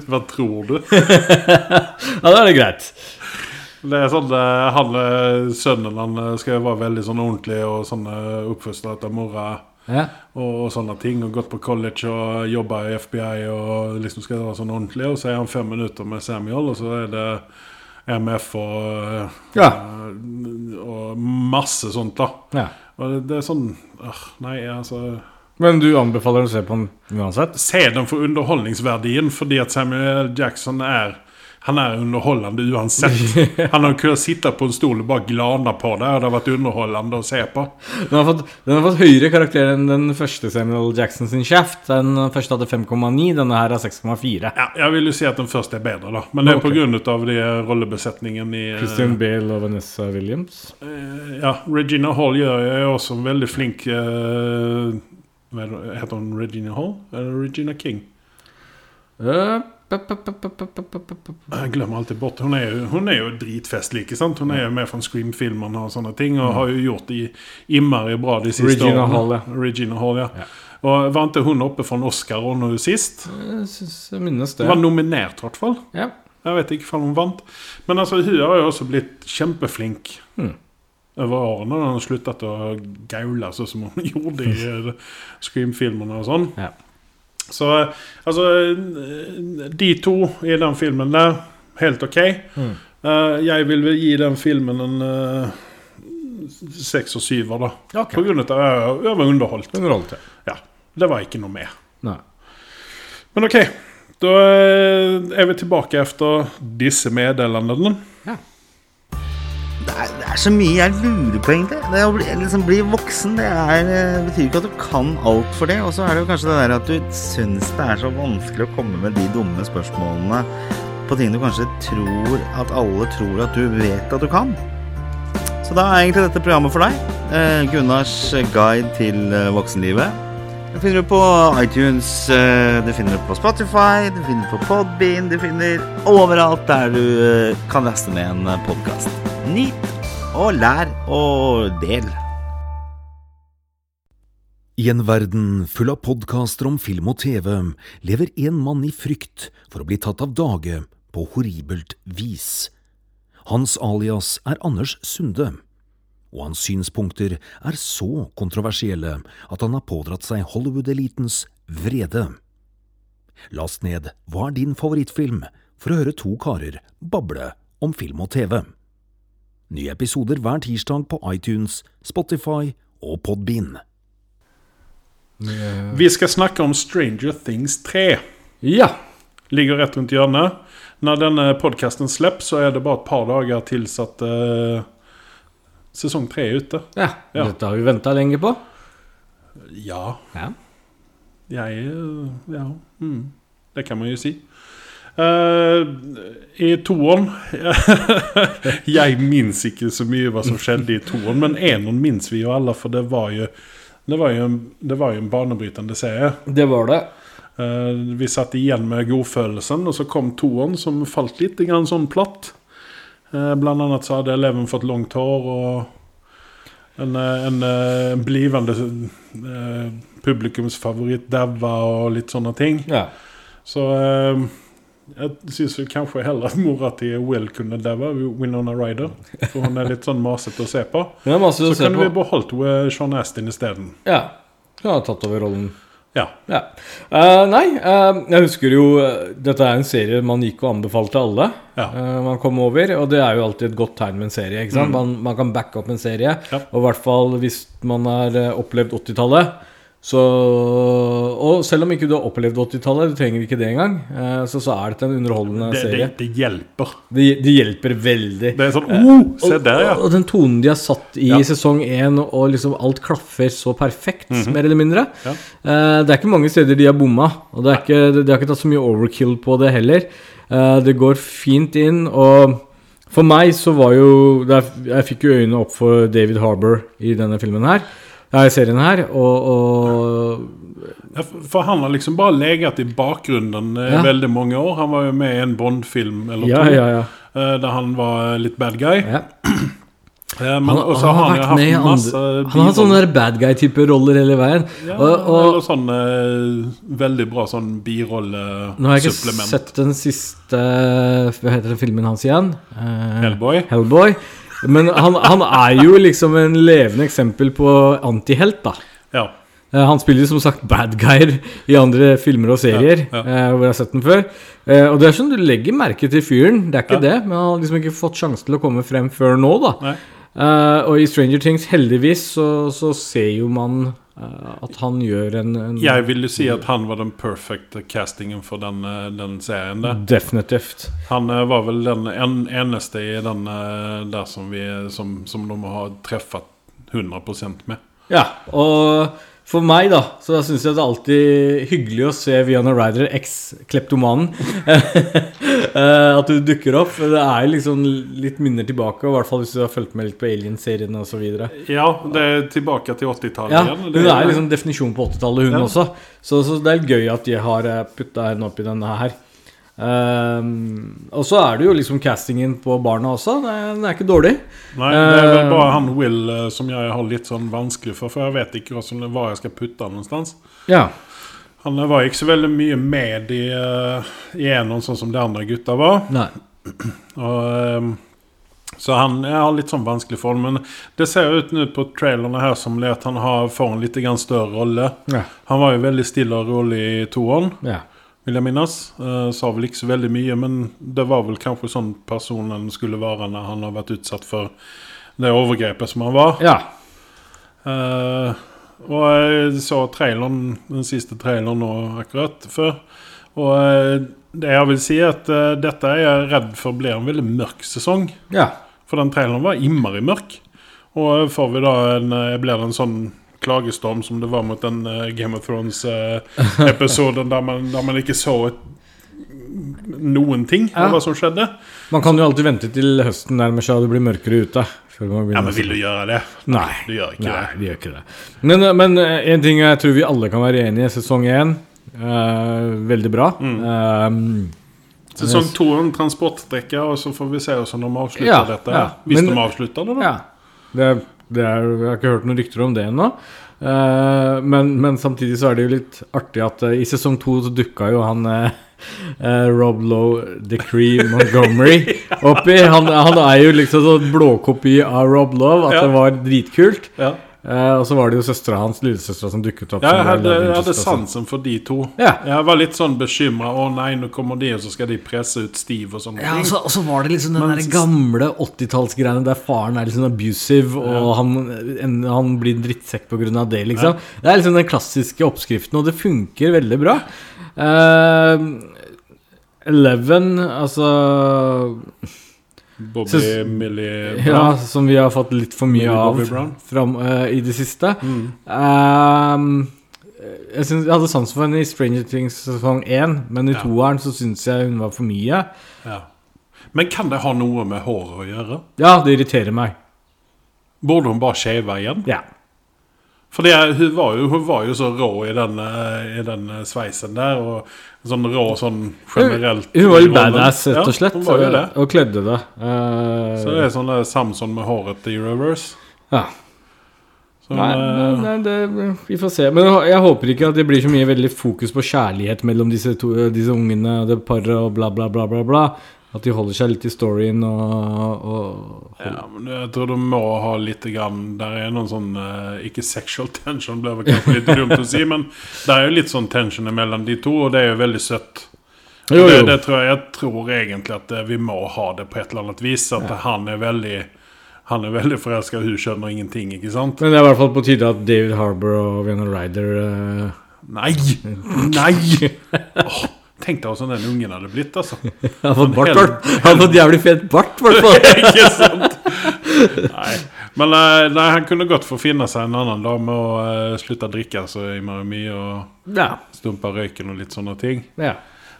[SPEAKER 1] Hva tror du?
[SPEAKER 2] Ja, da er det greit.
[SPEAKER 1] Det er sånn eh, han, eh, Sønnen han eh, skal jo være veldig sånn ordentlig og sånn eh, oppfostret av mora.
[SPEAKER 2] Ja.
[SPEAKER 1] Og, og sånne ting, og gått på college og jobba i FBI og liksom skal være sånn ordentlig. Og så er han fem minutter med Samuel, og så er det MF og, eh,
[SPEAKER 2] Ja.
[SPEAKER 1] og masse sånt, da.
[SPEAKER 2] ja.
[SPEAKER 1] Og det, det er sånn øh, Nei, altså
[SPEAKER 2] Men du anbefaler å se på den uansett?
[SPEAKER 1] Se den for underholdningsverdien, fordi at Samuel L. Jackson er han er underholdende uansett. Han har kunnet sitte på en stol og bare glane på det. Og det har vært underholdende å se på.
[SPEAKER 2] Den har fått, den har fått høyere karakter enn den første Samuel Jackson sin Shaft. Den første hadde 5,9, denne her er 6,4.
[SPEAKER 1] Ja, jeg vil jo si at den første er bedre, da. Men det er
[SPEAKER 2] Ok.
[SPEAKER 1] pga. eh, rollebesetningen i eh,
[SPEAKER 2] Christian Bale og Vanessa Williams.
[SPEAKER 1] eh, Ja, Regina Hall gjør jeg er også en veldig flink eh, Hva er det- Heter hun Regina Hall? Eller Regina King?
[SPEAKER 2] Øh, pep, pep, pep, pep, pep, pep, pep, pep.
[SPEAKER 1] Jeg glemmer alltid bort. Hun er jo, hun er jo dritfestlig. ikke sant? Hun er jo med fra Scream-filmene og sånne ting, og har jo gjort det innmari bra de siste
[SPEAKER 2] Regina
[SPEAKER 1] årene.
[SPEAKER 2] Hall, ja.
[SPEAKER 1] Regina Hall, ja.
[SPEAKER 2] Ja.
[SPEAKER 1] Og Vant ikke hun oppe for en Oscar nå sist?
[SPEAKER 2] Jeg syns jeg minnes det.
[SPEAKER 1] Hun var nominert, i hvert fall.
[SPEAKER 2] Ja.
[SPEAKER 1] Jeg vet ikke om hun vant. Men altså, hun har jo også blitt kjempeflink
[SPEAKER 2] Mm.
[SPEAKER 1] over årene. Når hun har sluttet å gaule sånn som hun gjorde i eh, Scream-filmene og sånn.
[SPEAKER 2] Ja.
[SPEAKER 1] Så eh, altså eh, De to i den filmen der, helt OK.
[SPEAKER 2] Mm.
[SPEAKER 1] Eh, jeg vil vel gi den filmen en eh, seks og syver, da.
[SPEAKER 2] Ok.
[SPEAKER 1] På grunn av at jeg- jeg var underholdt.
[SPEAKER 2] En rolle til.
[SPEAKER 1] Ja. Det var ikke noe mer.
[SPEAKER 2] Nei.
[SPEAKER 1] Men ok, da eh, er vi tilbake etter disse meddelandene.
[SPEAKER 3] Det er, det er så mye jeg lurer på, egentlig. Det å bli, liksom, bli voksen det er, eh, betyr ikke at du kan alt for det. Og så er det jo kanskje det der at du syns det er så vanskelig å komme med de dumme spørsmålene på ting du kanskje tror at alle tror at du vet at du kan. Så da er egentlig dette programmet for deg. Eh, Gunnars guide til eh, voksenlivet. Det finner du på iTunes, eh, du finner det på Spotify, du finner det på Podbean, du finner overalt der du eh, kan laste ned en podkast. Nyt og lær og del.
[SPEAKER 4] I en verden full av podkaster om film og TV lever en mann i frykt for å bli tatt av dage på horribelt vis. Hans alias er Anders Sunde, og hans synspunkter er så kontroversielle at han har pådratt seg Hollywood-elitens vrede. Last ned Hva er din favorittfilm? for å høre to karer bable om film og TV. Nye episoder hver tirsdag på iTunes, Spotify og Podbean.
[SPEAKER 1] Vi skal snakke om Stranger Things 3.
[SPEAKER 2] Ja.
[SPEAKER 1] Ligger rett rundt hjørnet. Når denne podkasten slipper, så er det bare et par dager til at eh, sesong tre er ute.
[SPEAKER 2] ja.
[SPEAKER 1] Ja.
[SPEAKER 2] Dette har vi venta lenge på.
[SPEAKER 1] Ja.
[SPEAKER 2] Ja.
[SPEAKER 1] Jeg eh, Ja. Mm. Det kan man jo si. Eh, I toeren Jeg minnes ikke så mye hva som skjedde i toeren, men eneren minnes vi jo alle, for det var jo det var jo, en, det var jo en banebrytende serie.
[SPEAKER 2] Det var det.
[SPEAKER 1] Eh, vi satt igjen med godfølelsen, og så kom toeren, som falt litt grann sånn platt. Eh, blant annet så hadde eleven fått langt hår, og en, eh, en, eh, en blivende eh, publikumsfavoritt daua, og litt sånne ting.
[SPEAKER 2] Ja.
[SPEAKER 1] Så eh, jeg syns kanskje heller at mora til Will kunne daua, Winona Ryder. For hun er litt sånn masete å se på.
[SPEAKER 2] Men det er masse
[SPEAKER 1] Så
[SPEAKER 2] å se
[SPEAKER 1] kunne vi
[SPEAKER 2] på.
[SPEAKER 1] beholdt eh, Sean Astin isteden.
[SPEAKER 2] Ja. Hun har tatt over rollen.
[SPEAKER 1] Ja.
[SPEAKER 2] Ja. Eh, nei, eh, jeg husker jo eh, Dette er en serie man gikk og anbefalte alle.
[SPEAKER 1] Ja.
[SPEAKER 2] eh, man kom over, og det er jo alltid et godt tegn med en serie. Ikke sant? Man, man kan backe opp en serie,
[SPEAKER 1] Mm. Ja.
[SPEAKER 2] og i hvert fall hvis man har eh, opplevd 80-tallet. Så, og selv om ikke du har opplevd 80-tallet, du trenger ikke det engang, eh, så, så er dette en underholdende
[SPEAKER 1] Det, det,
[SPEAKER 2] serie.
[SPEAKER 1] det hjelper.
[SPEAKER 2] Det, det hjelper veldig.
[SPEAKER 1] Det er sånn oh, Se
[SPEAKER 2] Eh, Og-
[SPEAKER 1] der, ja.
[SPEAKER 2] og, og den tonen de har satt i
[SPEAKER 1] Ja.
[SPEAKER 2] sesong én, og liksom alt klaffer så perfekt, mer eller mindre.
[SPEAKER 1] Mhm. Ja.
[SPEAKER 2] Eh, det er ikke mange steder de har bomma, og det er ikke, de har ikke tatt så mye overkill på det heller. Eh, det går fint inn, og for meg så var jo det er- Jeg fikk jo øynene opp for David Harbour i denne filmen her. Nei, serien her, og, og
[SPEAKER 1] Ja, for- For han har liksom bare legat i bakgrunnen eh,
[SPEAKER 2] Ja.
[SPEAKER 1] veldig mange år. Han var jo med i en Bond-film eller
[SPEAKER 2] Ja,
[SPEAKER 1] to,
[SPEAKER 2] ja, ja.
[SPEAKER 1] eh, der han var eh, litt bad guy.
[SPEAKER 2] ja.
[SPEAKER 1] Eh, Men
[SPEAKER 2] Han,
[SPEAKER 1] også
[SPEAKER 2] han har
[SPEAKER 1] jo
[SPEAKER 2] vært med i
[SPEAKER 1] masse
[SPEAKER 2] andre Han har hatt
[SPEAKER 1] biroller.
[SPEAKER 2] sånne der bad guy-type roller hele veien.
[SPEAKER 1] ja,
[SPEAKER 2] og, og,
[SPEAKER 1] Eller sånn eh, veldig bra sånn
[SPEAKER 2] Nå har jeg ikke
[SPEAKER 1] birollesupplement.
[SPEAKER 2] sett den siste Hva heter den filmen hans igjen? Eh,
[SPEAKER 1] Hellboy.
[SPEAKER 2] Hellboy. Men han, han er jo liksom en levende eksempel på antihelt, da.
[SPEAKER 1] Ja.
[SPEAKER 2] Eh, Han spiller jo som sagt bad guyer i andre filmer og serier.
[SPEAKER 1] Ja,
[SPEAKER 2] eh, Hvor jeg har sett den før Eh, Og det er sånn du legger merke til fyren, det er ikke det. Men han har liksom ikke fått sjansen til å komme frem før nå, da.
[SPEAKER 1] Nei.
[SPEAKER 2] Eh, og i Stranger Things, heldigvis, så, så ser jo man eh, at han gjør en, en
[SPEAKER 1] Jeg vil jo si at han var den perfekte castingen for den, eh, den serien. Der.
[SPEAKER 2] Definitivt.
[SPEAKER 1] Han eh, var vel den en, eneste i den eh, der som, vi, som, som de har truffet 100 med.
[SPEAKER 2] Ja, og for meg da, så synes jeg det er alltid hyggelig å se Vianna Ryder, eks-kleptomanen, eh, at du dukker opp. Det er liksom litt minner tilbake, og i hvert fall hvis du har fulgt med litt på Alien-seriene osv.
[SPEAKER 1] Ja, det er tilbake til 80-tallet
[SPEAKER 2] Ja,
[SPEAKER 1] igjen.
[SPEAKER 2] hun er liksom definisjonen på 80-tallet, hun
[SPEAKER 1] Ja.
[SPEAKER 2] også. Så, så det er gøy at de har putta henne oppi denne her. Ehm, og så er det jo liksom castingen på barna også. Den er ikke dårlig.
[SPEAKER 1] Nei, det er vel
[SPEAKER 2] Eh,
[SPEAKER 1] bare han Will eh, som jeg har litt sånn vanskelig for, for jeg vet ikke hva som- hva jeg skal putte han noenstans.
[SPEAKER 2] Ja.
[SPEAKER 1] Han var ikke så veldig mye med i, eh, i Enon, sånn som de andre gutta var.
[SPEAKER 2] Nei.
[SPEAKER 1] Og, ehm, så han jeg har litt sånn vanskelig form. Men det ser ut nå på trailerne her som det at han har, får en litt grann større rolle.
[SPEAKER 2] Ja.
[SPEAKER 1] Han var jo veldig stille og rolig i toeren,
[SPEAKER 2] ja.
[SPEAKER 1] vil jeg minnes. Eh, sa vel ikke så veldig mye, men det var vel kanskje sånn personen skulle være når han har vært utsatt for det overgrepet som han var.
[SPEAKER 2] ja.
[SPEAKER 1] Eh, og jeg så traileren, den siste traileren nå akkurat før. Og eh, det jeg vil si, er at eh, dette er jeg redd for blir en veldig mørk sesong.
[SPEAKER 2] ja.
[SPEAKER 1] For den traileren var innmari mørk. Og får vi da en, eh, blir det en sånn klagestorm som det var mot den eh, Game of Thrones-episoden der, man- der man ikke så et, noen ting
[SPEAKER 2] Ja.
[SPEAKER 1] av hva som skjedde?
[SPEAKER 2] Man kan jo alltid vente til høsten nærmer seg og det blir mørkere ute. Før man
[SPEAKER 1] Ja,
[SPEAKER 2] begynner
[SPEAKER 1] men vil du gjøre det?
[SPEAKER 2] Nei.
[SPEAKER 1] Du gjør ikke
[SPEAKER 2] Nei,
[SPEAKER 1] det.
[SPEAKER 2] de gjør ikke det. Men, eh, men eh, en ting jeg tror vi alle kan være enige i, sesong én eh, veldig bra.
[SPEAKER 1] Mm.
[SPEAKER 2] Eh,
[SPEAKER 1] Sesong to er en transportstrekke, og så får vi se hvordan de avslutter
[SPEAKER 2] Ja,
[SPEAKER 1] dette.
[SPEAKER 2] ja.
[SPEAKER 1] Hvis
[SPEAKER 2] Men-
[SPEAKER 1] de avslutter det, da.
[SPEAKER 2] ja. Det, det er, jeg har ikke hørt noen rykter om det ennå. Eh, men, men samtidig så er det jo litt artig at eh, i sesong to så dukka jo han eh, eh, Rob Lowe Decree Montgomery oppi. Han, han er jo liksom sånn blåkopi av Rob Love,
[SPEAKER 1] Ja.
[SPEAKER 2] at det var dritkult.
[SPEAKER 1] Ja.
[SPEAKER 2] Eh, og så var det jo søstera hans, lillesøstera, som dukket opp.
[SPEAKER 1] Ja,
[SPEAKER 2] som
[SPEAKER 1] jeg
[SPEAKER 2] var
[SPEAKER 1] hadde, jeg
[SPEAKER 2] lillesøstera
[SPEAKER 1] hadde
[SPEAKER 2] sin.
[SPEAKER 1] sansen for de to.
[SPEAKER 2] Ja.
[SPEAKER 1] Jeg var litt sånn bekymra. Å nei, nå kommer de, og så skal de presse ut Steve og sånne
[SPEAKER 2] Ja, og
[SPEAKER 1] ting.
[SPEAKER 2] så, og så var det liksom den
[SPEAKER 1] Men
[SPEAKER 2] der
[SPEAKER 1] så-
[SPEAKER 2] gamle 80-tallsgreiene der faren er liksom abusive, og han, en, han blir en drittsekk pga. det, liksom. Det er liksom den klassiske oppskriften, og det funker veldig bra. Eh, Eleven, altså
[SPEAKER 1] Bobby,
[SPEAKER 2] Syns-
[SPEAKER 1] Millie
[SPEAKER 2] Ja,
[SPEAKER 1] Brown.
[SPEAKER 2] som vi har fått litt for
[SPEAKER 1] Millie
[SPEAKER 2] mye av
[SPEAKER 1] Bobby Brown.
[SPEAKER 2] fram, eh, i det siste.
[SPEAKER 1] Mm.
[SPEAKER 2] Eh, jeg, synes, jeg hadde sansen for henne i Stranger Things sesong 1, men i
[SPEAKER 1] Ja.
[SPEAKER 2] toeren så syns jeg hun var for mye.
[SPEAKER 1] Ja. Men kan det ha noe med håret å gjøre?
[SPEAKER 2] Ja, det irriterer meg.
[SPEAKER 1] Burde hun bare shave igjen?
[SPEAKER 2] Ja.
[SPEAKER 1] For det, er- hun, var jo, hun var jo så rå i den, eh, i den eh, sveisen der. Og sånn rå sånn generelt.
[SPEAKER 2] Hun var
[SPEAKER 1] i
[SPEAKER 2] jo
[SPEAKER 1] rollen.
[SPEAKER 2] badass, rett og slett.
[SPEAKER 1] Ja, hun var jo det.
[SPEAKER 2] Og kledde det. Eh,
[SPEAKER 1] Så det er sånn der Samson med håret i reverse.
[SPEAKER 2] ja.
[SPEAKER 1] Så,
[SPEAKER 2] Nei, nei,
[SPEAKER 1] eh,
[SPEAKER 2] nei det, vi får se. Men jeg håper ikke at det blir så mye veldig fokus på kjærlighet mellom disse, to, eh, disse ungene og det paret og bla, bla, bla, bla. bla. At de holder seg litt i storyen og, og
[SPEAKER 1] Ja, men jeg tror du må ha litt grann, Der er noen sånn eh, Ikke sexual tension, blir vel kanskje litt dumt å si, men det er jo litt sånn tension mellom de to, og det er jo veldig søtt.
[SPEAKER 2] Jo,
[SPEAKER 1] Det,
[SPEAKER 2] jo.
[SPEAKER 1] det tror jeg, jeg tror egentlig at eh, vi må ha det på et eller annet vis. At han er veldig Han er veldig forelska, hun skjønner ingenting, ikke sant?
[SPEAKER 2] Men det er i hvert fall på tide at David Harbour og Vienna Ryder eh,
[SPEAKER 1] Nei! Nei! Åh, tenk deg hvordan den ungen hadde blitt, altså.
[SPEAKER 2] har fått bart.
[SPEAKER 1] hel-
[SPEAKER 2] hvert- Har fått jævlig fet bart, i hvert fall.
[SPEAKER 1] ikke sant? Nei. Men eh, nei, han kunne godt få finne seg en annen dame og eh, slutte å drikke så innmari mye og
[SPEAKER 2] Ja.
[SPEAKER 1] stumpe røyken og litt sånne ting.
[SPEAKER 2] ja.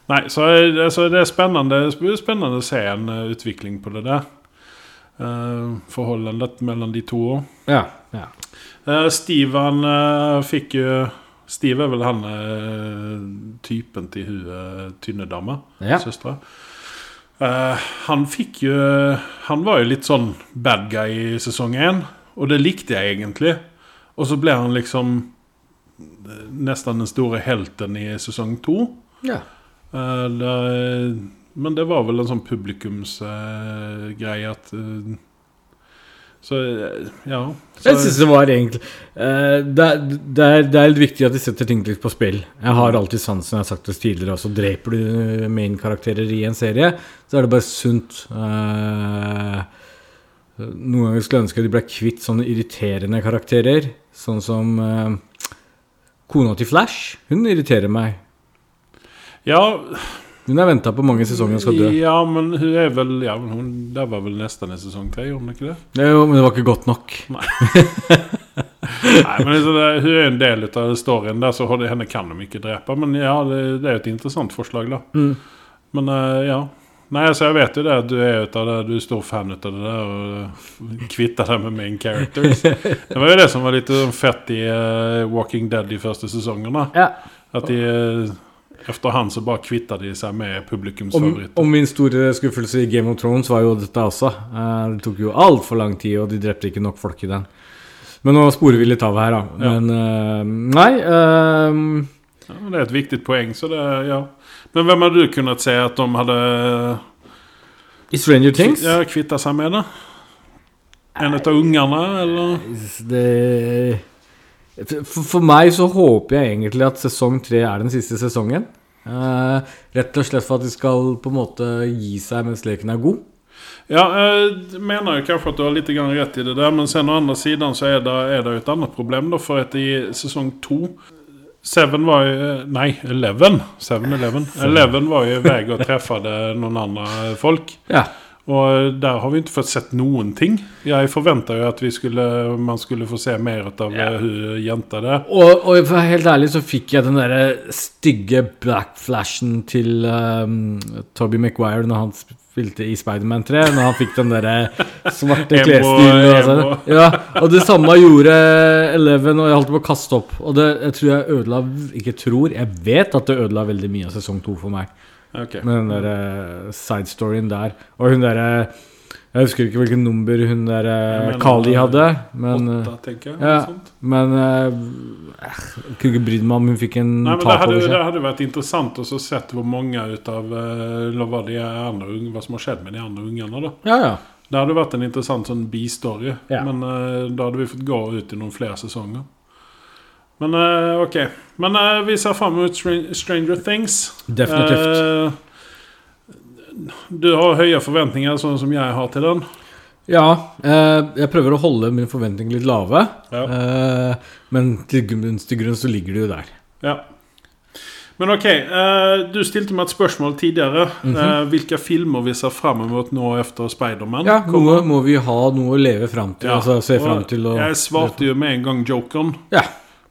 [SPEAKER 1] Nei, så, eh, altså, det er spennende, det blir spennende å se en eh, utvikling på det der. Eh, forholdet mellom de to òg.
[SPEAKER 2] Ja. ja.
[SPEAKER 1] Steve han eh, fikk jo Steve er vel han eh, typen til hun eh, tynne dama
[SPEAKER 2] ja.
[SPEAKER 1] søstra. Eh, han fikk jo Han var jo litt sånn bad guy i sesong én, og det likte jeg egentlig. Og så ble han liksom eh, nesten den store helten i sesong to.
[SPEAKER 2] ja.
[SPEAKER 1] Eh, det- men det var vel en sånn publikumsgreie at eh, Så eh, ja. Så,
[SPEAKER 2] Jeg synes det var egentlig eh, det, er- det, er, det er litt viktig at de setter ting litt på spill. Jeg har alltid sansen, jeg har sagt det tidligere også. Dreper du main-karakterer i en serie, så er det bare sunt. Eh, noen ganger skulle jeg ønske at de ble kvitt sånne irriterende karakterer. Sånn som eh, kona til Flash. Hun irriterer meg.
[SPEAKER 1] ja,
[SPEAKER 2] Hun er venta på mange sesonger og skal dø.
[SPEAKER 1] ja, men hun er vel ja, men hun, Det var vel nesten i sesong tre, gjorde hun ikke det?
[SPEAKER 2] Det er jo, men det var ikke godt nok.
[SPEAKER 1] Nei, men liksom, det, Hun er en del av storyen der, så har det- henne kan de ikke drepe. Men ja, det, det er jo et interessant forslag, da.
[SPEAKER 2] Mm.
[SPEAKER 1] Men eh, ja. Nei, altså, jeg vet jo det at du er, ut av det, du er stor fan ut av det der, og eh, kvitter deg med main characters. Det var jo det som var litt sånn fett i eh, Walking Dead de første sesongene.
[SPEAKER 2] Ja.
[SPEAKER 1] At de uh, efterhand så bare kvitter de seg med
[SPEAKER 2] Om,
[SPEAKER 1] publikumsfavoritter.
[SPEAKER 2] om min store skuffelse i Game of Thrones var jo dette også. Eh, det tok jo altfor lang tid, og de drepte ikke nok folk i den. Men nå sporer vi litt av her, da. Men eh, nei eh,
[SPEAKER 1] Ja, det är ett viktigt poäng. Så det, ja. Men vem hade du kunnat säga att de hade
[SPEAKER 2] I Stranger Things?
[SPEAKER 1] ja, kvittat sig med? det? En av ungarna eller?
[SPEAKER 2] Det for, for meg så håper jeg egentlig at sesong tre er den siste sesongen. Eh, rett og slett for at de skal på en måte gi seg mens leken er god.
[SPEAKER 1] Ja, jag menar ju kanske att du har lite grann rätt i det där. Men sen å andra sidan så är det, är det ett annat problem då. För att i säsong 2. Seven var ju, eh, nej, Eleven. Seven Eleven. Eleven var ju iväg och träffade någon annan eh, folk.
[SPEAKER 2] Ja.
[SPEAKER 1] Och eh, där har vi inte fått sett någonting. Jag förväntar ju att vi skulle, man skulle få se mer av hur jänta det är.
[SPEAKER 2] Og, og for å være helt ærlig så fikk jeg den derre stygge blackflashen til um, Toby Maguire når han spilte i Spiderman 3. Når han fikk den derre svarte
[SPEAKER 1] Emo,
[SPEAKER 2] klesstilen. Og,
[SPEAKER 1] emo.
[SPEAKER 2] sånn. ja, og det samme gjorde Eleven, og jeg holdt på å kaste opp. Og det jeg tror jeg ødela Ikke tror, jeg vet at det ødela veldig mye av sesong to for meg.
[SPEAKER 1] Okej.
[SPEAKER 2] Med den der eh, side-storyen der. Og hun derre Jeg husker ikke hvilket nummer hun der eh,
[SPEAKER 1] Jeg mener,
[SPEAKER 2] Kali hadde, men eh,
[SPEAKER 1] Åtta, tänker jag.
[SPEAKER 2] ja.
[SPEAKER 1] eller sånt.
[SPEAKER 2] men eh, jeg kunne ikke brydd meg om hun fikk en
[SPEAKER 1] Nej, men det,
[SPEAKER 2] tap
[SPEAKER 1] hade,
[SPEAKER 2] over
[SPEAKER 1] det
[SPEAKER 2] seg.
[SPEAKER 1] hade varit intressant att så sett hur många utav eh, vad, det är andra, ung- vad som har skett med de andra ungarna då.
[SPEAKER 2] Ja, ja.
[SPEAKER 1] Det hade varit en intressant sån bistory.
[SPEAKER 2] Ja.
[SPEAKER 1] Men eh, då hade vi fått gå ut i någon fler säsonger. Men eh, okej. Men eh, vi ser fram emot Str- Stranger Things.
[SPEAKER 2] Definitivt.
[SPEAKER 1] Eh, du har höga förväntningar sån som jag har till den.
[SPEAKER 2] ja, eh, jeg prøver å holde mine forventninger litt lave.
[SPEAKER 1] Ja.
[SPEAKER 2] eh, men til grunn, til grunn så ligger det jo der.
[SPEAKER 1] Ja. Men okej, eh, du stilte mig ett spörsmål tidigare.
[SPEAKER 2] Mhm.
[SPEAKER 1] eh, vilka filmer vi ser fram emot nå efter Spider-Man?
[SPEAKER 2] Ja,
[SPEAKER 1] kommer?
[SPEAKER 2] noe må vi ha noe å leve fram til. Altså se fram til å
[SPEAKER 1] Jeg svarte jo med en gang Jokeren.
[SPEAKER 2] Ja.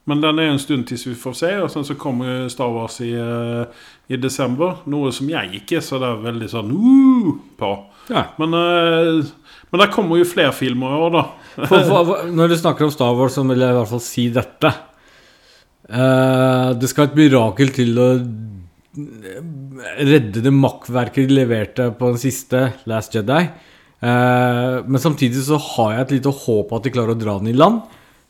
[SPEAKER 1] Men den er en stund til vi får se, og sen så kommer jo Star Wars i, eh, i desember. Noe som jeg ikke er så der veldig sånn uh, på.
[SPEAKER 2] ja.
[SPEAKER 1] Men, eh, men der kommer jo flere filmer i år, da.
[SPEAKER 2] For, for, for, når du snakker om Star Wars, så vil jeg i hvert fall si dette. Eh, det skal et mirakel til å eh, redde det makkverket de leverte på den siste, Last Jedi. Eh, men samtidig så har jeg et lite håp at de klarer å dra den i land.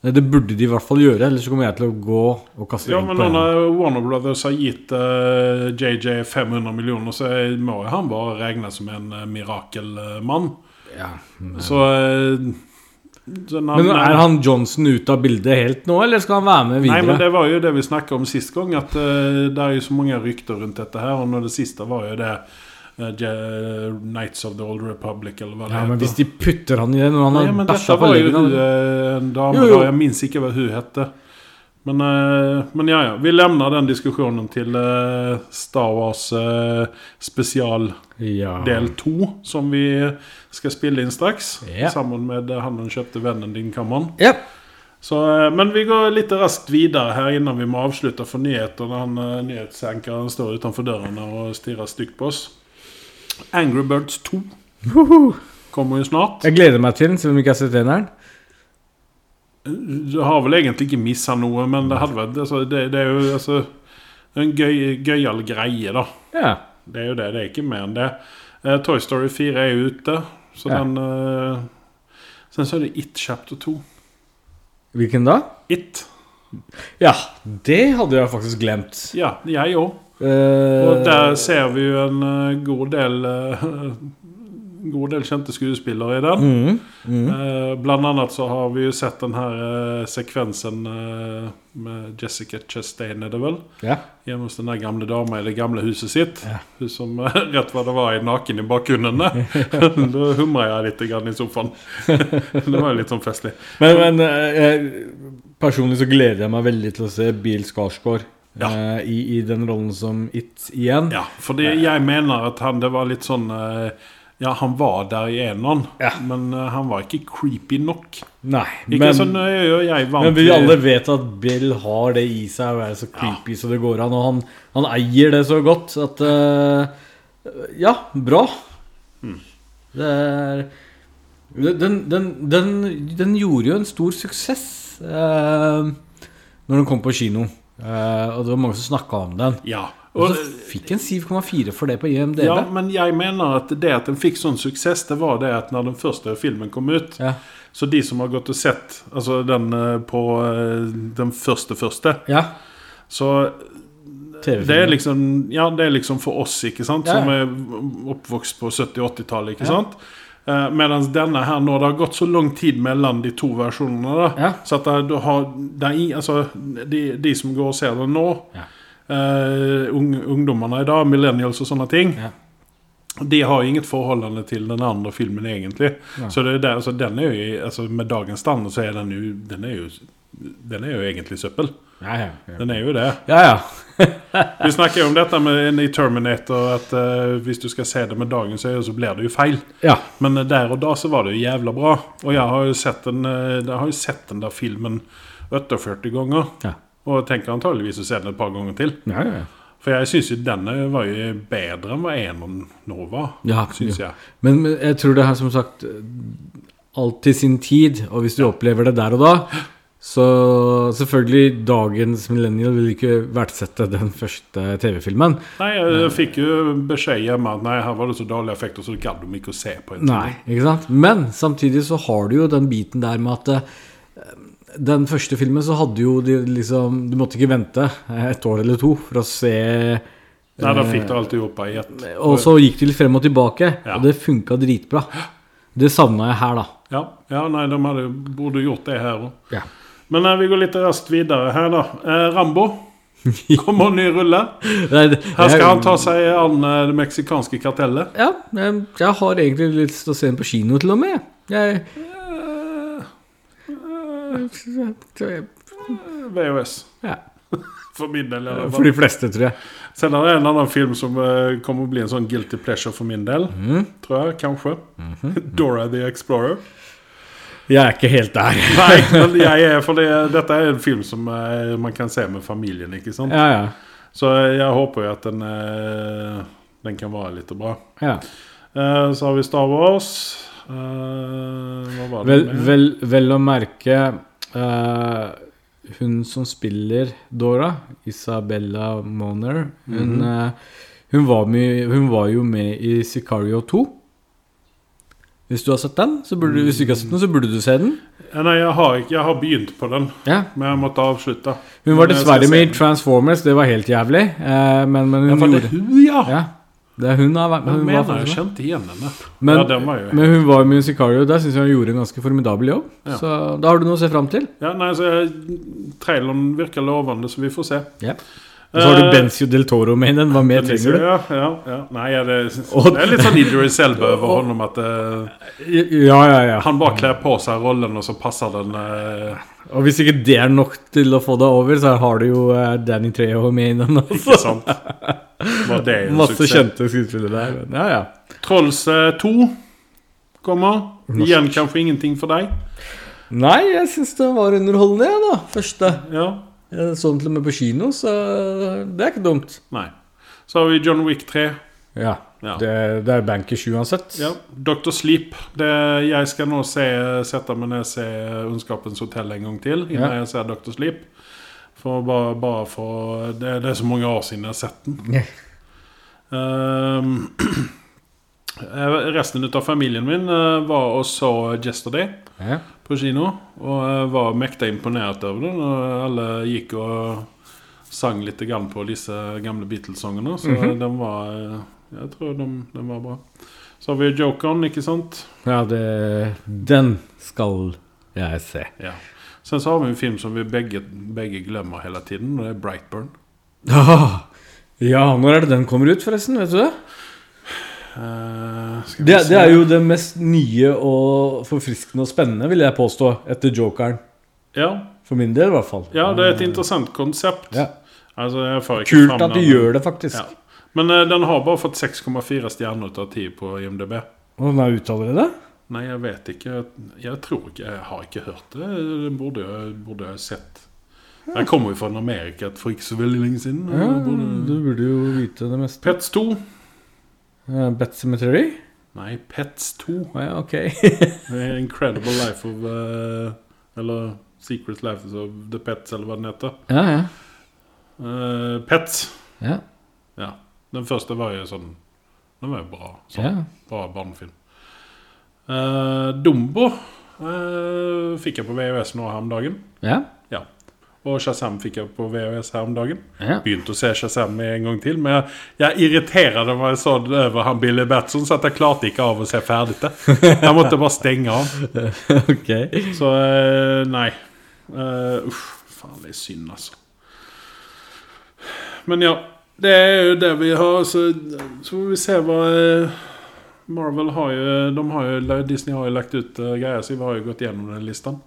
[SPEAKER 2] Eh, Det burde de i hvert fall gjøre, ellers så kommer jeg til å gå og kaste
[SPEAKER 1] Ja,
[SPEAKER 2] egg
[SPEAKER 1] men
[SPEAKER 2] på
[SPEAKER 1] nå
[SPEAKER 2] henne.
[SPEAKER 1] når eh, Warner Brothers har gitt eh, JJ 500 millioner, så er- må jo han bare regnes som en eh, mirakelmann.
[SPEAKER 2] Ja.
[SPEAKER 1] Så, eh, så når-
[SPEAKER 2] Men er han Johnson ute av bildet helt nå, eller skal han være med
[SPEAKER 1] Nej, men
[SPEAKER 2] videre?
[SPEAKER 1] det var ju det vi snackade om sist gång. Att eh, det är ju så många rykten runt detta här. Och det sista var ju det... eh, Je- Knights of the Old Republic eller vad det
[SPEAKER 2] Ja, men
[SPEAKER 1] heter.
[SPEAKER 2] hvis de putter han i det når han
[SPEAKER 1] Nej,
[SPEAKER 2] har
[SPEAKER 1] men detta
[SPEAKER 2] bæsja på
[SPEAKER 1] var ju
[SPEAKER 2] leggen
[SPEAKER 1] hur, eh, en dam,
[SPEAKER 2] Jo, jo.
[SPEAKER 1] då, jag minns inte vad hur hette. Men, eh, men ja, ja, vi lämnar den diskussionen till eh, Star Wars eh, special
[SPEAKER 2] Ja.
[SPEAKER 1] del 2 som vi ska spela in strax.
[SPEAKER 2] Ja.
[SPEAKER 1] Samman med eh, Han den köpte vännen din kammaren.
[SPEAKER 2] Ja.
[SPEAKER 1] Så, eh, men vi går lite raskt vidare här innan vi må avsluta för nyheterna. Han, eh, nyhetsankaren står utanför dörren och stirrar styggt på oss. Angry Birds 2 kommer ju snart.
[SPEAKER 2] Jeg gleder meg til den, selv om jeg ikke har sett eneren.
[SPEAKER 1] Du har väl egentligen inte missat något, men det, hade varit, alltså, det, det är ju alltså, en gøy, gøyal grej då.
[SPEAKER 2] Ja.
[SPEAKER 1] Det är ju det, det är inte mer än det. Eh, Toy Story 4 är ju ute. Så
[SPEAKER 2] Ja.
[SPEAKER 1] den, eh, sen så är det It Chapter 2.
[SPEAKER 2] Hvilken da?
[SPEAKER 1] It.
[SPEAKER 2] Ja, det hadde jeg faktisk glemt.
[SPEAKER 1] Ja, jag också.
[SPEAKER 2] Eh,
[SPEAKER 1] Og der ser vi jo en eh, god del eh, God del kjente skuespillere i den.
[SPEAKER 2] Mhm, mhm.
[SPEAKER 1] Eh, bland annet så har vi jo sett den her eh, sekvensen eh, med Jessica Chastain, er det vel?
[SPEAKER 2] Ja.
[SPEAKER 1] Hjemme hos den der gamle dama i det gamle huset sitt. Hun som eh, rett hva det var er naken i bakgrunnen der. da humra jeg litt grann i sofaen. det var jo litt sånn festlig.
[SPEAKER 2] Men, men eh, jeg- personlig så gleder jeg meg veldig til å se Bill Skarsgård
[SPEAKER 1] Ja.
[SPEAKER 2] eh, i, i den rollen som It igjen.
[SPEAKER 1] Ja, for det, jeg mener at han det var litt sånn eh, Ja, han var der i eneren,
[SPEAKER 2] Ja.
[SPEAKER 1] men eh, han var ikke creepy nok.
[SPEAKER 2] Nei,
[SPEAKER 1] Ikke
[SPEAKER 2] men,
[SPEAKER 1] sånn jeg, jeg, jeg vant
[SPEAKER 2] men vi
[SPEAKER 1] til-
[SPEAKER 2] alle vet at Bill har det i seg å være så creepy så det går an. Og han, han eier det så godt at eh, Ja, bra.
[SPEAKER 1] Mm.
[SPEAKER 2] Det er den, den, den, den gjorde jo en stor suksess eh, når den kom på kino. Eh, og det var mange som snakka om den.
[SPEAKER 1] Ja.
[SPEAKER 2] Og
[SPEAKER 1] Og,
[SPEAKER 2] så fikk en 7,4 for det på IMDb.
[SPEAKER 1] ja, men jeg mener at det at den fikk sånn suksess, det var det at når den første filmen kom ut
[SPEAKER 2] Ja.
[SPEAKER 1] Så de som har gått og sett altså den eh, på eh, den første første,
[SPEAKER 2] Ja.
[SPEAKER 1] så Det er
[SPEAKER 2] TV-filmer.
[SPEAKER 1] liksom, ja, det er liksom for oss, ikke sant?
[SPEAKER 2] Ja.
[SPEAKER 1] Som er oppvokst på 70- og 80-tallet, ikke sant? Eh, Mens denne her nå, det har gått så lang tid mellom de to versjonene, da.
[SPEAKER 2] Ja.
[SPEAKER 1] Så at det, du har, det er, i- altså, de, de som går og ser det nå,
[SPEAKER 2] Ja.
[SPEAKER 1] eh, ung, ungdommene i dag, millennials og sånne ting,
[SPEAKER 2] Ja.
[SPEAKER 1] de har inget forhold til den andre filmen, egentlig.
[SPEAKER 2] Nei.
[SPEAKER 1] Så det er der, altså, den er jo, i- altså, med dagens standard så er den jo, den er jo, den er jo egentlig søppel.
[SPEAKER 2] Ja, ja, ja.
[SPEAKER 1] Den er jo det.
[SPEAKER 2] ja, ja.
[SPEAKER 1] Vi snakker jo om dette med i Terminator, at eh, hvis du skal se det med dagens øye, så blir det jo feil.
[SPEAKER 2] ja.
[SPEAKER 1] Men eh, der og da så var det jo jævla bra. Og jeg har jo sett den, eh, jeg har jo sett den der filmen 48 ganger.
[SPEAKER 2] Ja.
[SPEAKER 1] Og tenker antageligvis å se den et par ganger til.
[SPEAKER 2] Ja, ja, ja.
[SPEAKER 1] For jeg syns jo denne var jo bedre enn hva Enon nå var.
[SPEAKER 2] Ja,
[SPEAKER 1] Syns jeg.
[SPEAKER 2] Men men jeg tror det er som sagt alt til sin tid, og hvis du opplever det der og da så selvfølgelig, dagens millennial vil ikke verdsette den første TV-filmen.
[SPEAKER 1] Nei, jeg fikk jo beskjed hjemme at nei, her var det så dårlige effekter, så det gadd de ikke å se på. en
[SPEAKER 2] Nei, ikke sant? Men samtidig så har du jo den biten der med at eh, den første filmen så hadde jo de liksom Du måte ikke vente eh, et år eller to for å se
[SPEAKER 1] Nei, da
[SPEAKER 2] Eh.
[SPEAKER 1] fikk du alltid opp i ett.
[SPEAKER 2] Og så gikk de litt frem og tilbake,
[SPEAKER 1] Ja.
[SPEAKER 2] og det funka dritbra. Det savna jeg her, da.
[SPEAKER 1] Ja, ja, nei, de hadde, burde gjort det her òg.
[SPEAKER 2] Ja.
[SPEAKER 1] Men eh, vi går litt raskt videre her, da. Eh, Rambo kommer en ny rulle.
[SPEAKER 2] Nei, det-
[SPEAKER 1] Her
[SPEAKER 2] jeg-
[SPEAKER 1] skal han ta seg an eh, det meksikanske kartellet.
[SPEAKER 2] Ja, jeg, jeg har egentlig lyst til å se den på kino til og med. Jeg,
[SPEAKER 1] VHS.
[SPEAKER 2] ja.
[SPEAKER 1] For min del. i alle
[SPEAKER 2] For
[SPEAKER 1] fall.
[SPEAKER 2] de fleste, tror jeg.
[SPEAKER 1] Sen er det en annen film som eh, kommer å bli en sånn guilty pleasure for min del.
[SPEAKER 2] Mhm.
[SPEAKER 1] Tror jeg, kanskje. Dora the Explorer.
[SPEAKER 2] Jeg er ikke helt der.
[SPEAKER 1] Nei, men jeg er, for det, dette er en film som eh, man kan se med familien, ikke sant?
[SPEAKER 2] Ja, ja.
[SPEAKER 1] Så eh, jeg håper jo at den, eh, den kan være litt bra.
[SPEAKER 2] ja.
[SPEAKER 1] Eh, så har vi Star Wars. Eh, hva var det
[SPEAKER 2] Vel,
[SPEAKER 1] med?
[SPEAKER 2] vel, vel å merke eh, Hun som spiller Dora, Isabella Moner, hun, eh, hun, var med, hun var jo med i Sicario 2. Hvis du har sett den, så burde, hvis du ikke har sett den, så burde du se den.
[SPEAKER 1] Eh, Nei, jeg har, ikke, jeg har begynt på den,
[SPEAKER 2] Ja,
[SPEAKER 1] men jeg måtte avslutte.
[SPEAKER 2] Hun var
[SPEAKER 1] Men jeg skal
[SPEAKER 2] dessverre
[SPEAKER 1] se
[SPEAKER 2] med i
[SPEAKER 1] den.
[SPEAKER 2] Transformers, det var helt jævlig. Eh, men, men hun
[SPEAKER 1] Ja, for det
[SPEAKER 2] gjorde
[SPEAKER 1] er hun, ja!
[SPEAKER 2] Ja, det er hun har vært
[SPEAKER 1] Jeg
[SPEAKER 2] hun var
[SPEAKER 1] mener jeg
[SPEAKER 2] faktisk med.
[SPEAKER 1] kjente igjen henne.
[SPEAKER 2] Men,
[SPEAKER 1] ja, den var jo
[SPEAKER 2] men hun var med i Sicario, der syns jeg hun gjorde en ganske formidabel jobb.
[SPEAKER 1] Ja.
[SPEAKER 2] Så da har du noe å se fram til.
[SPEAKER 1] ja, nei, så jeg- Traileren virker lovende, så vi får se.
[SPEAKER 2] Og så har du
[SPEAKER 1] Eh,
[SPEAKER 2] Benzio del Toro med i den. Hva mer
[SPEAKER 1] Men
[SPEAKER 2] trenger du?
[SPEAKER 1] Ja, ja, ja. Nei, ja, det,
[SPEAKER 2] Og-
[SPEAKER 1] det er litt sånn Idris Elba over honom at eh,
[SPEAKER 2] Ja, ja, ja.
[SPEAKER 1] han bare kler på seg rollen, og så passer den eh,
[SPEAKER 2] Og hvis ikke det er nok til å få deg over, så har du jo eh, Danny Treho med i den.
[SPEAKER 1] ikke
[SPEAKER 2] Også.
[SPEAKER 1] sant. Var det en
[SPEAKER 2] Masse
[SPEAKER 1] suksess?
[SPEAKER 2] kjente skuespillere der. men Ja, ja.
[SPEAKER 1] Trolls eh, 2 kommer.
[SPEAKER 2] Norsk.
[SPEAKER 1] Igjen kanskje ingenting for deg.
[SPEAKER 2] Nei, jeg syns det var underholdende, jeg, da. Første.
[SPEAKER 1] Ja,
[SPEAKER 2] Jeg så den til og med på kino, så det er ikke dumt.
[SPEAKER 1] nei Så har vi John Wick 3.
[SPEAKER 2] Ja.
[SPEAKER 1] Ja.
[SPEAKER 2] Det, det er bankers uansett.
[SPEAKER 1] Ja. Dr. Sleep. Det, jeg skal nå se, sette meg ned og se Ondskapens hotell en gang til. Innan
[SPEAKER 2] Ja.
[SPEAKER 1] jeg ser Dr. Sleep. For bare, bare for det, det er så mange år siden jeg har sett den.
[SPEAKER 2] Ja.
[SPEAKER 1] Ehm, eh, resten ut av familien min eh, var og så Yesterday
[SPEAKER 2] Ja.
[SPEAKER 1] på kino. Og jeg var mektig imponert over den. Og alle gikk og sang litt grann på disse gamle Beatles-sangene. Så den var eh, Jeg tror den, den var bra. Så har vi Jokeren, ikke sant?
[SPEAKER 2] Ja, det, den skal jeg se.
[SPEAKER 1] Ja. Sen så har vi en film som vi begge, begge glemmer hele tiden, og det er Brightburn.
[SPEAKER 2] ja, når er det den kommer ut, forresten? Vet du det?
[SPEAKER 1] Eh, skal vi
[SPEAKER 2] Det,
[SPEAKER 1] se.
[SPEAKER 2] det er jo det mest nye og forfriskende og spennende, vil jeg påstå, etter jokeren.
[SPEAKER 1] ja,
[SPEAKER 2] For min del, i hvert fall.
[SPEAKER 1] ja, det er et interessant konsept.
[SPEAKER 2] Eh, Ja.
[SPEAKER 1] Altså, jeg får ikke
[SPEAKER 2] Kult
[SPEAKER 1] fram
[SPEAKER 2] at du
[SPEAKER 1] den.
[SPEAKER 2] gjør det, faktisk.
[SPEAKER 1] Ja. Men eh, den har bare fått 6,4 stjerner ut av 10 på IMDb.
[SPEAKER 2] Og den er ute allerede?
[SPEAKER 1] Nei, jeg vet ikke. Jeg tror ikke Jeg har ikke hørt det. Det burde jeg, burde jeg sett. Jeg kommer jo fra Amerika for ikke så veldig lenge siden.
[SPEAKER 2] Ja,
[SPEAKER 1] og burde-
[SPEAKER 2] du burde jo vite det meste.
[SPEAKER 1] Pets 2.
[SPEAKER 2] Uh, Bet Cemetery?
[SPEAKER 1] Nei, Pets 2.
[SPEAKER 2] Å ja, ok.
[SPEAKER 1] Det er Incredible Life of eh, Eller Secret Life of the Pets, eller hva den heter.
[SPEAKER 2] ja, ja.
[SPEAKER 1] Eh, Pets.
[SPEAKER 2] ja,
[SPEAKER 1] Ja. Den første var jo sånn Den var jo bra. Sånn.
[SPEAKER 2] ja.
[SPEAKER 1] Bra barnefilm. Eh, Dumbo eh, fikk jeg på VØS nå her om dagen.
[SPEAKER 2] ja.
[SPEAKER 1] Og Shazam fikk jeg på VHS her om dagen.
[SPEAKER 5] Ja.
[SPEAKER 1] Begynte å se Shazam en gang til, men jeg, jeg irriterte meg sånn over han Billy Batson, så at jeg klarte ikke av å se ferdig det. Jeg måtte bare stenge av.
[SPEAKER 2] ok.
[SPEAKER 1] Så eh, nei. Eh, uff, faen, det er synd, altså. Men ja. Det er jo det vi har. Så, så får vi se hva eh, Marvel har jo, de har jo Disney har jo lagt ut eh, greier, så vi har jo gått gjennom den listen.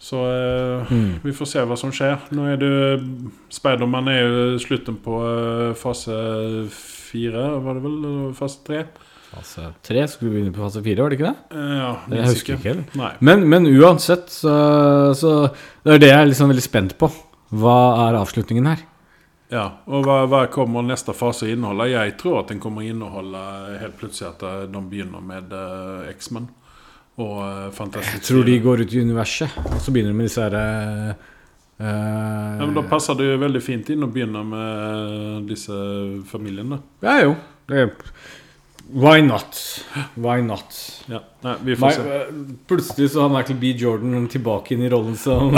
[SPEAKER 1] Så eh,
[SPEAKER 2] Mm.
[SPEAKER 1] vi får se hva som skjer. Nå er det jo- Spiderman er jo slutten på eh, fase fire, var det vel? eller Fase tre?
[SPEAKER 2] Fase tre skulle vi begynne på fase fire, var det ikke det?
[SPEAKER 1] Eh, ja,
[SPEAKER 2] Det
[SPEAKER 1] minns
[SPEAKER 2] husker jeg ikke heller.
[SPEAKER 1] Nei.
[SPEAKER 2] Men, men uansett, så, så Det er det jeg er liksom veldig spent på. Hva er avslutningen her?
[SPEAKER 1] Ja, og hva, hva kommer neste fase å inneholde? Jeg tror at den kommer å inneholde helt plutselig at eh, de begynner med eh, X-Men og uh, Fantastic
[SPEAKER 2] Jeg tror de
[SPEAKER 1] Four.
[SPEAKER 2] går ut i universet, og så begynner de med disse herre eh,
[SPEAKER 1] ja, men Da passer det jo veldig fint inn å begynne med eh, disse familiene.
[SPEAKER 2] eh, Ja jo. Det, why not? Why not?
[SPEAKER 1] Ja, Nei, vi
[SPEAKER 2] Mi-
[SPEAKER 1] får se.
[SPEAKER 2] eh, plutselig så har Michael B. Jordan tilbake inn i rollen som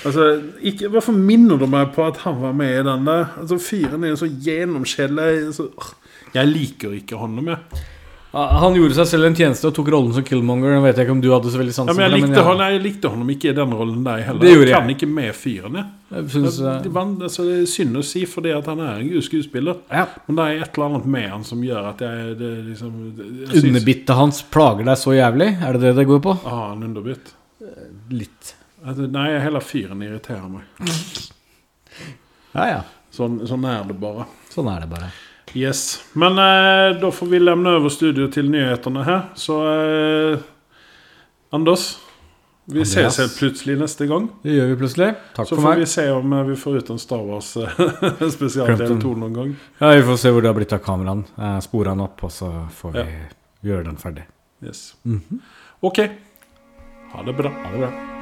[SPEAKER 1] Altså, ikke, Hvorfor minner du meg på at han var med i den der? Altså, Fyren er jo så gjennomskjellig. Så, åh, jeg liker ikke honom, jeg.
[SPEAKER 2] Ah, Han gjorde seg selv en tjeneste og tok rollen som Killmonger. Jeg vet ikke om du hadde så veldig sansen
[SPEAKER 1] Ja, Altså, men jeg
[SPEAKER 2] for det,
[SPEAKER 1] likte, han, jeg likte honom ikke i den rollen der heller.
[SPEAKER 2] Det gjorde
[SPEAKER 1] jeg
[SPEAKER 2] jeg.
[SPEAKER 1] kan ikke med fyren, jeg.
[SPEAKER 2] jeg
[SPEAKER 1] Det,
[SPEAKER 2] synes, eh,
[SPEAKER 1] det, var- altså, det er synd å si, fordi at han er en god skuespiller.
[SPEAKER 2] ja.
[SPEAKER 1] Men det er et eller annet med han som gjør at jeg det, er liksom det- jeg synes-
[SPEAKER 2] Underbittet hans plager deg så jævlig? Er det det det går på?
[SPEAKER 1] Ah, han underbitt.
[SPEAKER 2] Litt.
[SPEAKER 1] At, nei, hele fyren irriterer meg.
[SPEAKER 2] Ja, ja.
[SPEAKER 1] Sånn, sånn er det bare.
[SPEAKER 2] Sånn er det bare.
[SPEAKER 1] Yes. Men eh, da får vi lämna över studio til nyhetene her. Så eh, Anders, vi
[SPEAKER 2] Andreas.
[SPEAKER 1] ses helt plutselig neste gang.
[SPEAKER 2] Det gjør vi plutselig. Takk
[SPEAKER 1] Så
[SPEAKER 2] for
[SPEAKER 1] får
[SPEAKER 2] meg.
[SPEAKER 1] vi se om eh, vi får ut en Star Wars eh, spesialdel
[SPEAKER 2] Crampton.
[SPEAKER 1] to noen gang.
[SPEAKER 2] Ja, vi får se hvor det har blitt av kameraen. Eh, Spore han opp, og så får vi gjøre den ferdig.
[SPEAKER 1] Yes. OK. Ha det bra.
[SPEAKER 2] Mhm. Ha det bra.